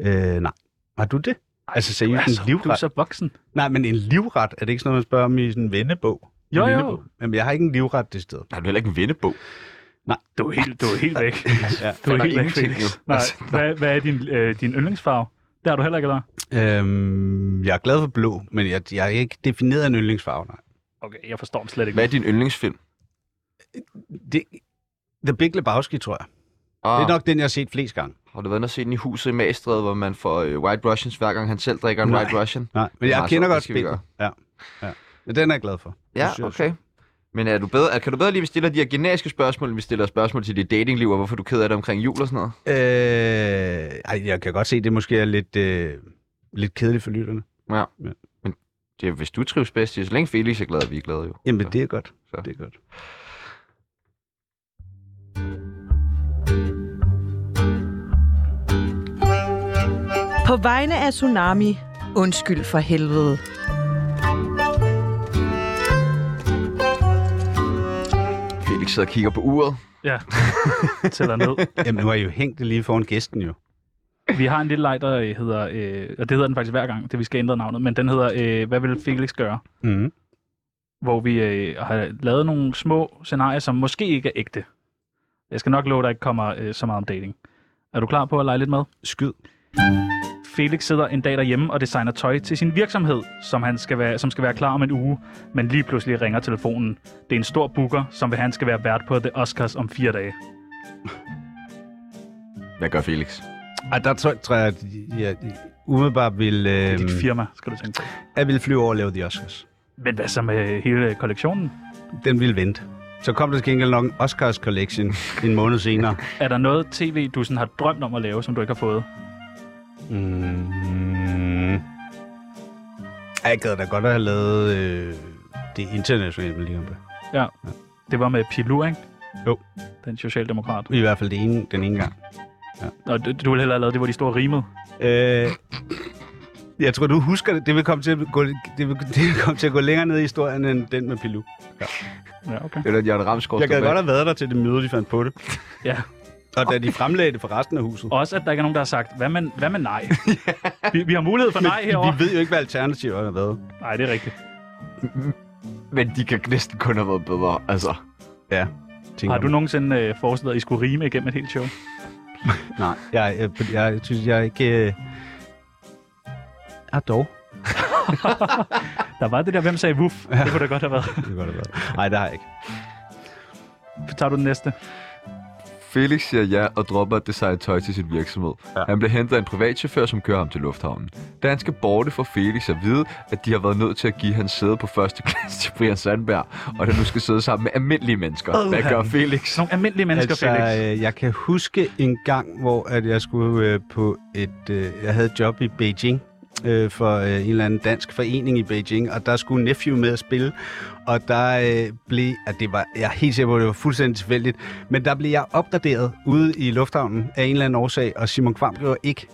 C: Øh, nej. Har du det? altså
D: Du
C: seriøst,
D: er, så,
C: en
D: du er
C: livret?
D: så voksen.
C: Nej, men en livret, er det ikke sådan noget, man spørger om i sådan en vennebog? En
D: Jo, jo.
C: vennebog? Jamen, jeg har ikke en livret det sted.
A: Har du heller ikke en vennebog?
D: Du er helt, du er helt væk.
C: Ja.
D: Du er
A: Der er
D: helt væk,
A: ingenting
D: Felix.
A: nu.
C: Altså,
D: Nej, hvad, hvad er din, øh, din yndlingsfarve? Det har du heller ikke, eller?
C: Øhm, jeg er glad for blå, men jeg, jeg er ikke defineret en yndlingsfarve, nej.
D: Okay, jeg forstår dem slet ikke.
A: Hvad er din yndlingsfilm?
C: Det, The Big Lebowski, tror jeg.
A: Ah,
C: Det er nok den, jeg har set flest gange.
A: Har du været inde og set den i huset i Magstræde, hvor man får øh, White Russians, hver gang han selv drikker en
C: Nej.
A: White Russian?
C: Nej, men
A: Det er
C: jeg
A: meget
C: kender
A: sjovt,
C: godt
A: det skal vi
C: spillet. Ja, ja. Men den er jeg glad for.
A: Ja,
C: Det synes jeg også.
A: okay. Men er du bedre, er- kan du bedre lige, at vi stiller de her generiske spørgsmål, end vi stiller spørgsmål til dit datingliv, og hvorfor du er ked af det omkring jul og sådan noget?
C: Øh, ej, jeg kan godt se, det måske er lidt, øh, lidt kedeligt for lytterne.
A: Det er, hvis du trives bedst, det er så længe Felix er glad, og vi er glade jo.
C: Jamen,
A: Så.
C: det er godt.
A: Så.
C: Det er godt.
E: På vegne af Tsunami, undskyld for helvede.
A: Felix sidder og kigger på uret.
C: (laughs)
D: Ja, tæller ned.
C: Jamen, nu har I jo hængt det lige foran gæsten jo.
D: Vi har en lille leg, der øh, hedder, øh, og det hedder den faktisk hver gang, det vi skal ændre navnet, men den hedder, øh, hvad vil Felix gøre?
A: Mhm.
C: Mm.
D: Hvor vi øh, har lavet nogle små scenarier, som måske ikke er ægte. Jeg skal nok love, at der ikke kommer øh, så meget om dating. Er du klar på at lege lidt med?
C: Skyd.
D: Felix sidder en dag derhjemme og designer tøj til sin virksomhed, som, han skal være, som skal være klar om en uge, men lige pludselig ringer telefonen. Det er en stor booker, som vil have, han skal være vært på The Oscars om fire dage.
A: Hvad gør Felix?
C: Ej, der tror, tror jeg, at jeg umiddelbart vil,
D: Det er
C: øh,
D: dit firma, skal du tænke på.
C: jeg vil flyve over og lave de Oscars.
D: Men hvad så med hele kollektionen?
C: Den ville vente. Så kom der til gengæld nok en Oscars Collection en måned senere.
D: Er der noget tv, du sådan har drømt om at lave, som du ikke har fået?
C: Mm. Ej, Jeg gad da godt at have lavet øh, det internationale lige om lidt.
D: Ja. Det var med Pilu, ikke?
C: Jo.
D: Den socialdemokrat.
C: I hvert fald det ene, den ene gang.
D: Og du, du ville hellere have lavet det, hvor de store rimede.
C: Øh, jeg tror, du husker det. Det vil, komme til at gå, det, vil, det vil komme til at gå længere ned i historien, end den med Pilu.
D: Ja, okay.
A: Eller Jørgen Ramsgaard.
C: Jeg gad
A: står bag.
C: godt have været der til det møde, de fandt på det.
D: Ja.
C: Og da de fremlagde det for resten af huset.
D: Også, at der ikke er nogen, der har sagt, hvad med, hvad med (laughs) nej? vi, vi har mulighed for nej herovre.
C: Vi ved jo ikke, hvad alternativet har været.
D: Nej, det er rigtigt.
A: Men de kan næsten kun have været bedre, altså.
C: Ja. tænker
D: Har du
C: man.
D: nogensinde øh, forestillet dig, at I skulle rime igennem et helt show?
C: Nej. Jeg, jeg, jeg, jeg synes, jeg er ikke... Øh... Ah, dog.
D: Der var det der, hvem sagde wuff? Ja. Det kunne da godt have været. (laughs)
C: Det kunne godt have været. Nej, det har jeg ikke.
D: Tager du den næste?
A: Felix siger ja og dropper at designe tøj til sin virksomhed. Ja. Han bliver hentet af en privatchauffør, som kører ham til lufthavnen. Da han skal borte, får Felix at vide, at de har været nødt til at give hans sæde på første (laughs) klasse til Brian Sandberg, og at han nu skal sidde sammen med almindelige mennesker.
D: Åh,
A: Hvad gør
D: han.
A: Felix? (laughs)
D: Nogle almindelige mennesker, altså, Felix.
C: altså, øh, jeg kan huske en gang, hvor at jeg skulle øh, på et... Øh, jeg havde et job i Beijing øh, for øh, en eller anden dansk forening i Beijing, og der skulle Nephew med at spille, og der øh, blev... At det var, jeg er helt sikker på, at det var fuldstændig tilfældigt, men der blev jeg opgraderet ude i lufthavnen af en eller anden årsag, og Simon Kvam blev ikke.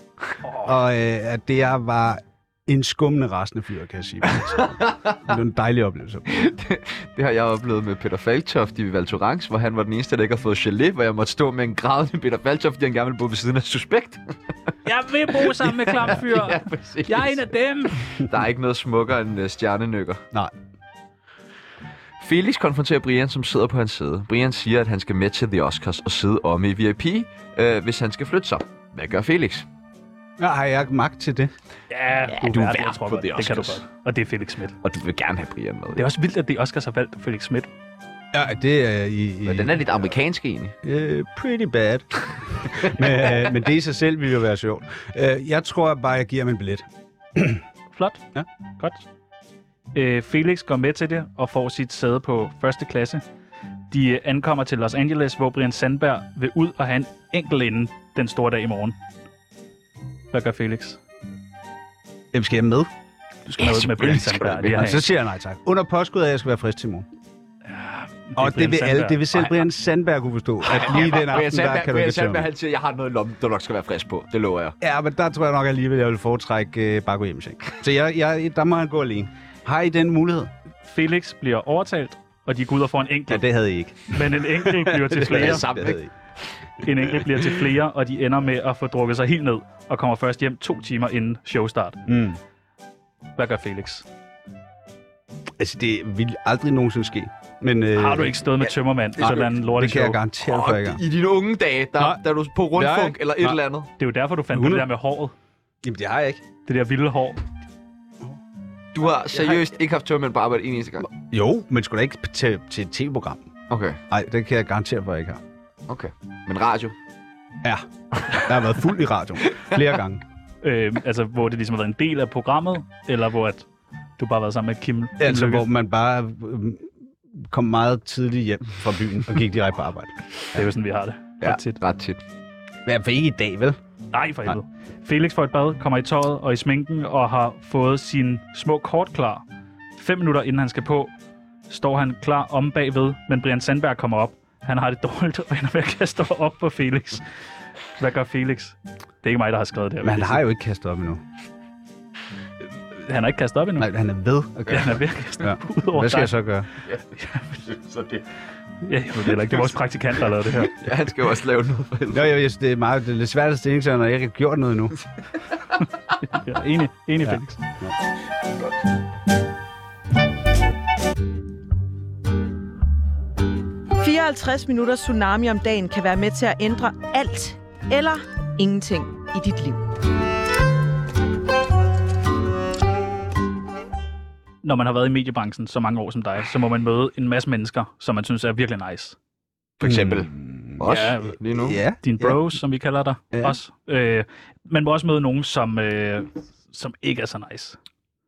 C: Og øh, at det jeg var en skummende rasende fyr, kan jeg sige. Det var en dejlig oplevelse.
A: Det har jeg oplevet med Peter Falktoft i Valtorans, hvor han var den eneste, der ikke har fået gelé, hvor jeg måtte stå med en grædende Peter Falktoft, fordi han gerne ville bo ved siden af suspekt. (laughs)
D: Jeg vil bo sammen med (laughs) klamfyr.
A: Ja, præcis.
D: Jeg er en af dem.
A: Der er ikke noget smukkere end øh, stjernenykker.
C: Nej.
A: Felix konfronterer Brian, som sidder på hans sæde. Brian siger, at han skal med til The Oscars og sidde om i VIP, øh, hvis han skal flytte sig. Hvad gør Felix?
C: Ja, har jeg ikke magt til det?
D: Ja, du,
A: du er
D: vært, jeg
A: vært
D: tror
A: på
D: godt.
A: The
D: Det kan du
A: Oscars.
D: godt. Og det er Felix Schmidt.
A: Og du vil gerne have Brian med.
D: Det er også vildt, at det Oscars har valgt Felix Schmidt.
C: Ja, det er i... i
A: Men den er lidt amerikansk egentlig.
C: Uh, pretty bad. (laughs) men, uh, men det i sig selv ville jo være sjovt. Uh, jeg tror bare, jeg giver ham en billet.
D: Flot.
C: Ja.
D: Godt. Øh, Felix går med til det og får sit sæde på første klasse. De øh, ankommer til Los Angeles, hvor Brian Sandberg vil ud og have en enkelt inden den store dag i morgen. Hvad gør Felix?
C: Hvem skal jeg med?
D: Du skal med ud med Brian
A: selvfølgelig skal
D: Sandberg.
A: du
D: Det er
C: Ja, så
D: han.
C: siger jeg nej tak. Under påskud af, at jeg skal være frisk til i morgen.
D: Det er
C: Og det
D: Brian
C: vil, alle,
D: Sandberg.
C: det vil selv
D: Ej,
C: Brian Sandberg kunne forstå, at lige den
A: Brian
C: aften, der
A: Sandberg,
C: kan du
A: Brian
C: ikke tage
A: Sandberg,
C: ham.
A: han siger, jeg har noget i lommen, du nok skal være frisk på. Det lover jeg.
C: Ja, men der tror jeg nok alligevel, jeg vil foretrække uh, bare gå hjem i seng. Så jeg, jeg, der må han gå alene. Har I den mulighed?
D: Felix bliver overtalt, og de går ud og får en
C: Ja,
D: enkelt.
C: det havde I ikke.
D: Men en enkelt bliver til flere.
A: jeg sammen,
C: (laughs) Det altså- havde I ikke.
D: En enkelt bliver til flere, og de ender med at få drukket sig helt ned, og kommer først hjem to timer inden showstart.
C: Mm.
D: Hvad gør Felix?
C: Altså, det vil aldrig nogensinde ske. Men, uh,
D: Har du ikke stået med tømmermand på
C: nej,
D: sådan en lorteshow?
C: Det kan jeg garantere for, jeg
A: Og i dine unge dage, der,
C: Nej.
A: der er du på rundfunk
C: Nej.
A: eller et
C: Nej.
A: eller andet.
D: Det er jo derfor, du fandt på det
C: 100.
D: der med håret.
C: Jamen, det har jeg ikke.
D: Det der vilde hår.
A: Du har seriøst ikke haft tømmermænd på arbejde en eneste gang.
C: Jo, men skulle da ikke til, til et tv-program.
A: Okay,
C: Nej, det kan jeg garantere for, at jeg ikke har.
A: okay. Men radio?
C: Ja. Jeg har været fuld i radioen flere gange.
D: Øh, altså, hvor det ligesom har været en del af programmet, eller hvor at du bare har været sammen med Kim. Kim
C: Altså,
D: Lykke.
C: hvor man bare øhm, kom meget tidligt hjem fra byen og gik direkte på arbejde.
D: Det er jo sådan, vi har det. Ja. Tit.
A: ret tit.
C: Men for ikke i dag, vel?
D: Nej, for helvede. Felix får et bad, kommer i tøjet og i sminken, og har fået sin små kort klar. Fem minutter inden han skal på, står han klar (laughs) om bagved, men Brian Sandberg kommer op. Han har det dårligt og ender med at kaste op på Felix. Hvad gør Felix? Det er ikke mig, der har skrevet det her.
C: Men han
D: vil jeg
C: har jo ikke kastet op endnu.
D: sige. han har ikke kastet op endnu.
C: Nej, han er ved at gøre
D: Han er ved at kaste
C: Ja.
D: ja. (laughs) ud over
C: Hvad skal
D: dig.
C: jeg så gøre?
G: så det,
D: Ja, jeg ved det heller
C: (laughs)
D: ikke. Det er vores praktikant, der har lavet det her.
A: Ja, han skal jo også lave noget for helvede.
C: Jo, jo, jeg, det er meget det er lidt svært at stille sig, når jeg ikke har gjort noget endnu.
D: Ja, enig, enig ja. Felix.
E: Godt. 54 minutter tsunami om dagen kan være med til at ændre alt eller ingenting i dit liv.
D: Når man har været i mediebranchen så mange år som dig, så må man møde en masse mennesker, som man synes er virkelig nice.
A: For eksempel os
D: Ja,
A: lige nu.
C: Ja.
D: Dine bros, som vi kalder dig,
C: Ja.
D: ja. også. Øh, man må også møde nogen, som, øh, som ikke er så nice.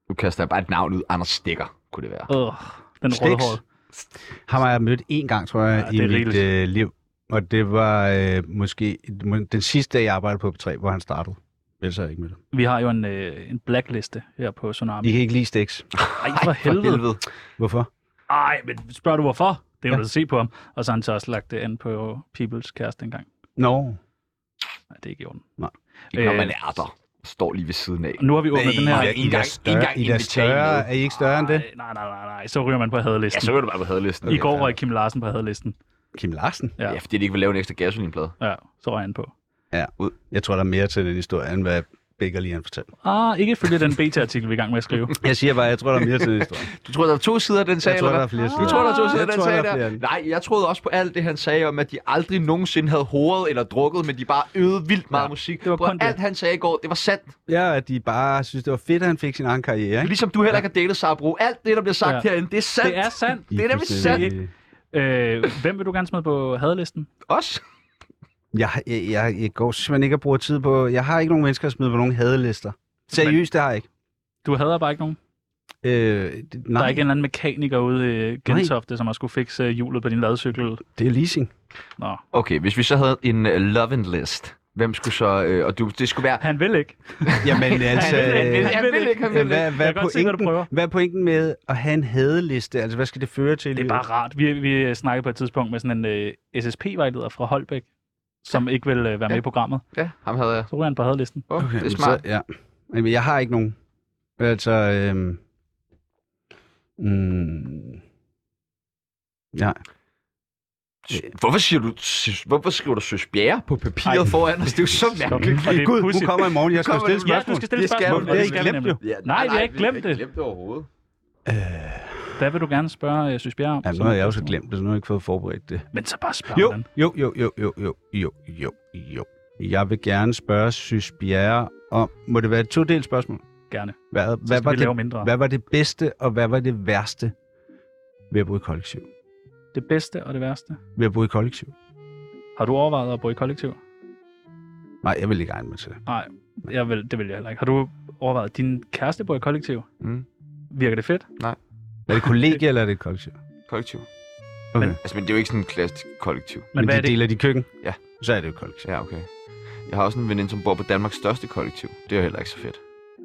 A: Nu kaster jeg bare et navn ud. Anders Stikker, kunne det være.
D: Øh, den
C: Stiks.
D: rødhårede.
C: Ham har jeg mødt én gang, tror jeg,
D: Ja,
C: ja,
D: det
C: i
D: er
C: mit
D: rigeligt.
C: øh, liv. Og det var øh, måske må- den sidste dag, jeg arbejdede på B3, hvor han startede. Ellers har jeg ikke mødt ham.
D: Vi har jo en, øh, en blackliste her på Tsunami.
C: I kan ikke lide Stix.
D: Ej, for helvede.
C: Hvorfor?
D: Ej, men spørger du hvorfor? Det er jo ja. at se på ham. Og så har han så også lagt det an på Peoples kæreste engang.
C: Nå,
D: Nej, det er ikke i orden.
A: Ikke når
D: Øh,
A: man er der. Står lige ved siden af.
D: Nu har vi åbnet den her...
A: Nej, engang, engang
C: I er da større.
A: inviteret.
C: Er I ikke større end det?
D: Nej, nej, nej, nej, nej. Så ryger man på
A: Ja,
D: hadelisten.
A: så
D: Ja,
A: kan du bare på hadelisten.
D: I går røg Kim Larsen på hadelisten.
C: Kim Larsen?
D: Ja.
A: Ja, fordi de ikke vil lave en ekstra gasolinplade.
D: Ja, så røg han på.
C: Jeg tror, der er mere til den historie, end hvad Becker lige han fortalte.
D: Ah, ikke følge den BT-artikel, vi er i gang med at
C: (laughs)
D: skrive.
C: Jeg siger bare, jeg tror, der er mere (laughs) til den historie.
A: Du tror, der er to sider af den sag,
C: Jeg tror,
A: eller
C: der
A: hvad?
C: er flere
A: Du tror, der er to sider af
C: Jeg
A: den
C: tror,
A: sag
C: der er
A: der?
C: flere.
A: Nej, jeg troede også på alt det, han sagde om, at de aldrig nogensinde havde hovedet eller drukket, men de bare øvede vildt meget musik.
D: det var
A: Prøv,
D: kun det.
A: alt, han sagde i går, det var sandt.
C: Ja, og at de bare synes, det var fedt, at han fik sin egen karriere. Ikke?
A: Ligesom du heller ikke har datet Sabro. Alt det, der bliver sagt
D: Ja.
A: herinde, det er sandt.
D: Det er sandt.
A: Det er nemlig sandt.
C: fuldstændig-
D: Øh, hvem vil du gerne smide på hadelisten?
A: Også.
C: Jeg, jeg, jeg, jeg går simpelthen ikke at bruge tid på... Jeg har ikke nogen mennesker at smide på nogen hadelister. Seriøst, det har jeg ikke.
D: Du hader bare ikke nogen.
C: Øh, det,
D: Nej.
C: nej,
D: Der er ikke en eller anden mekaniker ude i Gentofte, som har skulle fikse øh, hjulet på din ladcykel.
C: det er leasing.
D: Nå,
A: Okay, hvis vi så havde en øh, love and list, hvem skulle så... Øh, og du, det skulle være...
D: han vil ikke.
C: (laughs) Jamen altså...
A: Han vil- han vil-
C: øh,
A: han vil ikke, han vil ikke.
C: Hvad, hvad,
D: Jeg kan
C: er
D: godt se, hvad du
C: pointen-
D: prøver.
C: hvad er pointen med at have en hadeliste? Altså, hvad skal det føre til? i
D: Det er
C: livet?
D: bare rart. Vi, vi snakkede på et tidspunkt med sådan en øh, SSP-vejleder fra Holbæk, som ikke vil øh, være med i programmet.
A: Ja, ham havde jeg.
D: Så ryger han på hadelisten.
A: Oh, okay, det er
C: Jamen,
A: smart.
C: Så, ja. Jamen, jeg har ikke nogen. Altså, øhm, mm, ja.
A: Hvorfor, siger du, søs- hvorfor skriver du Søs Bjerre på papiret
D: Ej.
A: foran os? Det er jo så mærkeligt.
D: Og det er
C: Gud,
D: pudsigt.
C: hun kommer i morgen. Jeg skal jo
A: Kommer
C: stille
A: du-
D: Ja,
C: spørgsmål.
D: du skal stille
A: Det skal
D: spørgsmål.
A: vi.
D: og
A: Det har
D: skal
C: I
D: vi
C: glemt,
D: nemlig.
A: Ja,
D: Nej, vi har ikke
A: vi har
D: glemt
A: ikke
D: det.
A: glemt det overhovedet.
D: Hvad vil du gerne spørge øh, Søs Bjerre om?
C: Ja, nu har jeg jo så glemt det, så nu har jeg ikke fået forberedt det.
D: Men så bare spørg
C: Jo,
D: den.
C: jo, jo, jo, jo, jo, jo, jo, jo. Jeg vil gerne spørge Sys Bjerre om, må det være et todelt spørgsmål?
D: Gerne.
C: Hvad,
D: Så
C: hvad,
D: skal
C: var
D: vi lave
C: det,
D: mindre.
C: hvad var det bedste, og hvad var det værste ved at bo i kollektiv?
D: Det bedste og det værste.
C: Ved at bo i kollektiv?
D: Har du overvejet at bo i kollektiv?
C: Nej, jeg vil ikke egne mig til det.
D: Nej, jeg vil, det vil jeg heller ikke. Har du overvejet, at din kæreste bor i kollektiv?
A: Mm.
D: Virker det fedt?
C: Er det
D: (laughs)
C: kollegie, eller er det et kollektiv?
A: Kollektiv.
C: Okay.
D: Men-
A: Altså, men det er jo ikke sådan en klassisk kollektiv.
D: Men
C: Men,
D: hvad
C: Men
D: er
C: de
D: det?
C: deler de køkken?
A: Ja.
C: Så er det jo et kollektiv.
A: Ja, okay. Jeg har også en veninde, som bor på Danmarks største kollektiv. Det er jo heller ikke så fedt.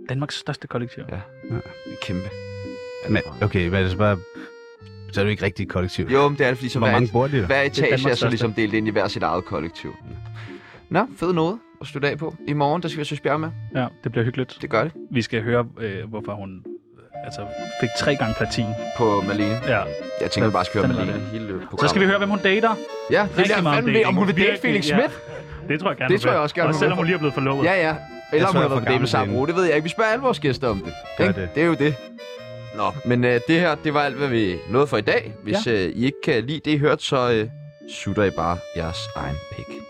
D: Danmarks største kollektiv.
A: Ja. Det er kæmpe.
C: Men, okay, hvad er det så bare... Så er det jo ikke rigtigt et kollektiv.
A: Jo, men det er det, fordi så
C: Hvor
A: hver,
C: mange bor de der?
A: hver etage er
D: Danmarks
A: så
D: største.
A: ligesom delt ind i hver sit eget kollektiv. Nå, fed noget at slutte af på. I morgen, der skal vi have Søs Bjerre med.
D: Ja, det bliver hyggeligt.
A: Det gør det.
D: Vi skal høre, øh, hvorfor hun øh, altså, fik tre gange platin.
A: På Malene.
D: Ja.
A: Jeg tænker, vi bare skal høre
D: Fanden var
A: Malene
D: det.
A: hele
D: Så
A: programmet.
D: skal vi høre, hvem hun dater.
A: Ja, det
D: Rigtig
A: er
D: meget
A: fandme,
D: dating.
A: om hun vil date
D: Virkelig,
A: Felix
D: ja.
A: Schmidt.
D: Det tror jeg gerne,
A: Det
D: hun
A: tror
D: vil.
A: jeg også gerne,
D: Også
A: hun vil.
D: selvom hun lige er blevet forlovet.
A: Ja, ja. Eller om hun har
C: tror, jeg er
A: været
C: for
A: på date med
C: gammel til
A: Sarah
C: hende.
A: Roe, det ved jeg ikke. Vi spørger alle vores gæster om det.
C: Gør
A: ikke?
C: det.
A: det er jo det. Nå, men øh, det her, det var alt, hvad vi nåede for i dag. Hvis ja. øh, I ikke kan lide det, I hørte, så øh, sutter I bare jeres egen pik.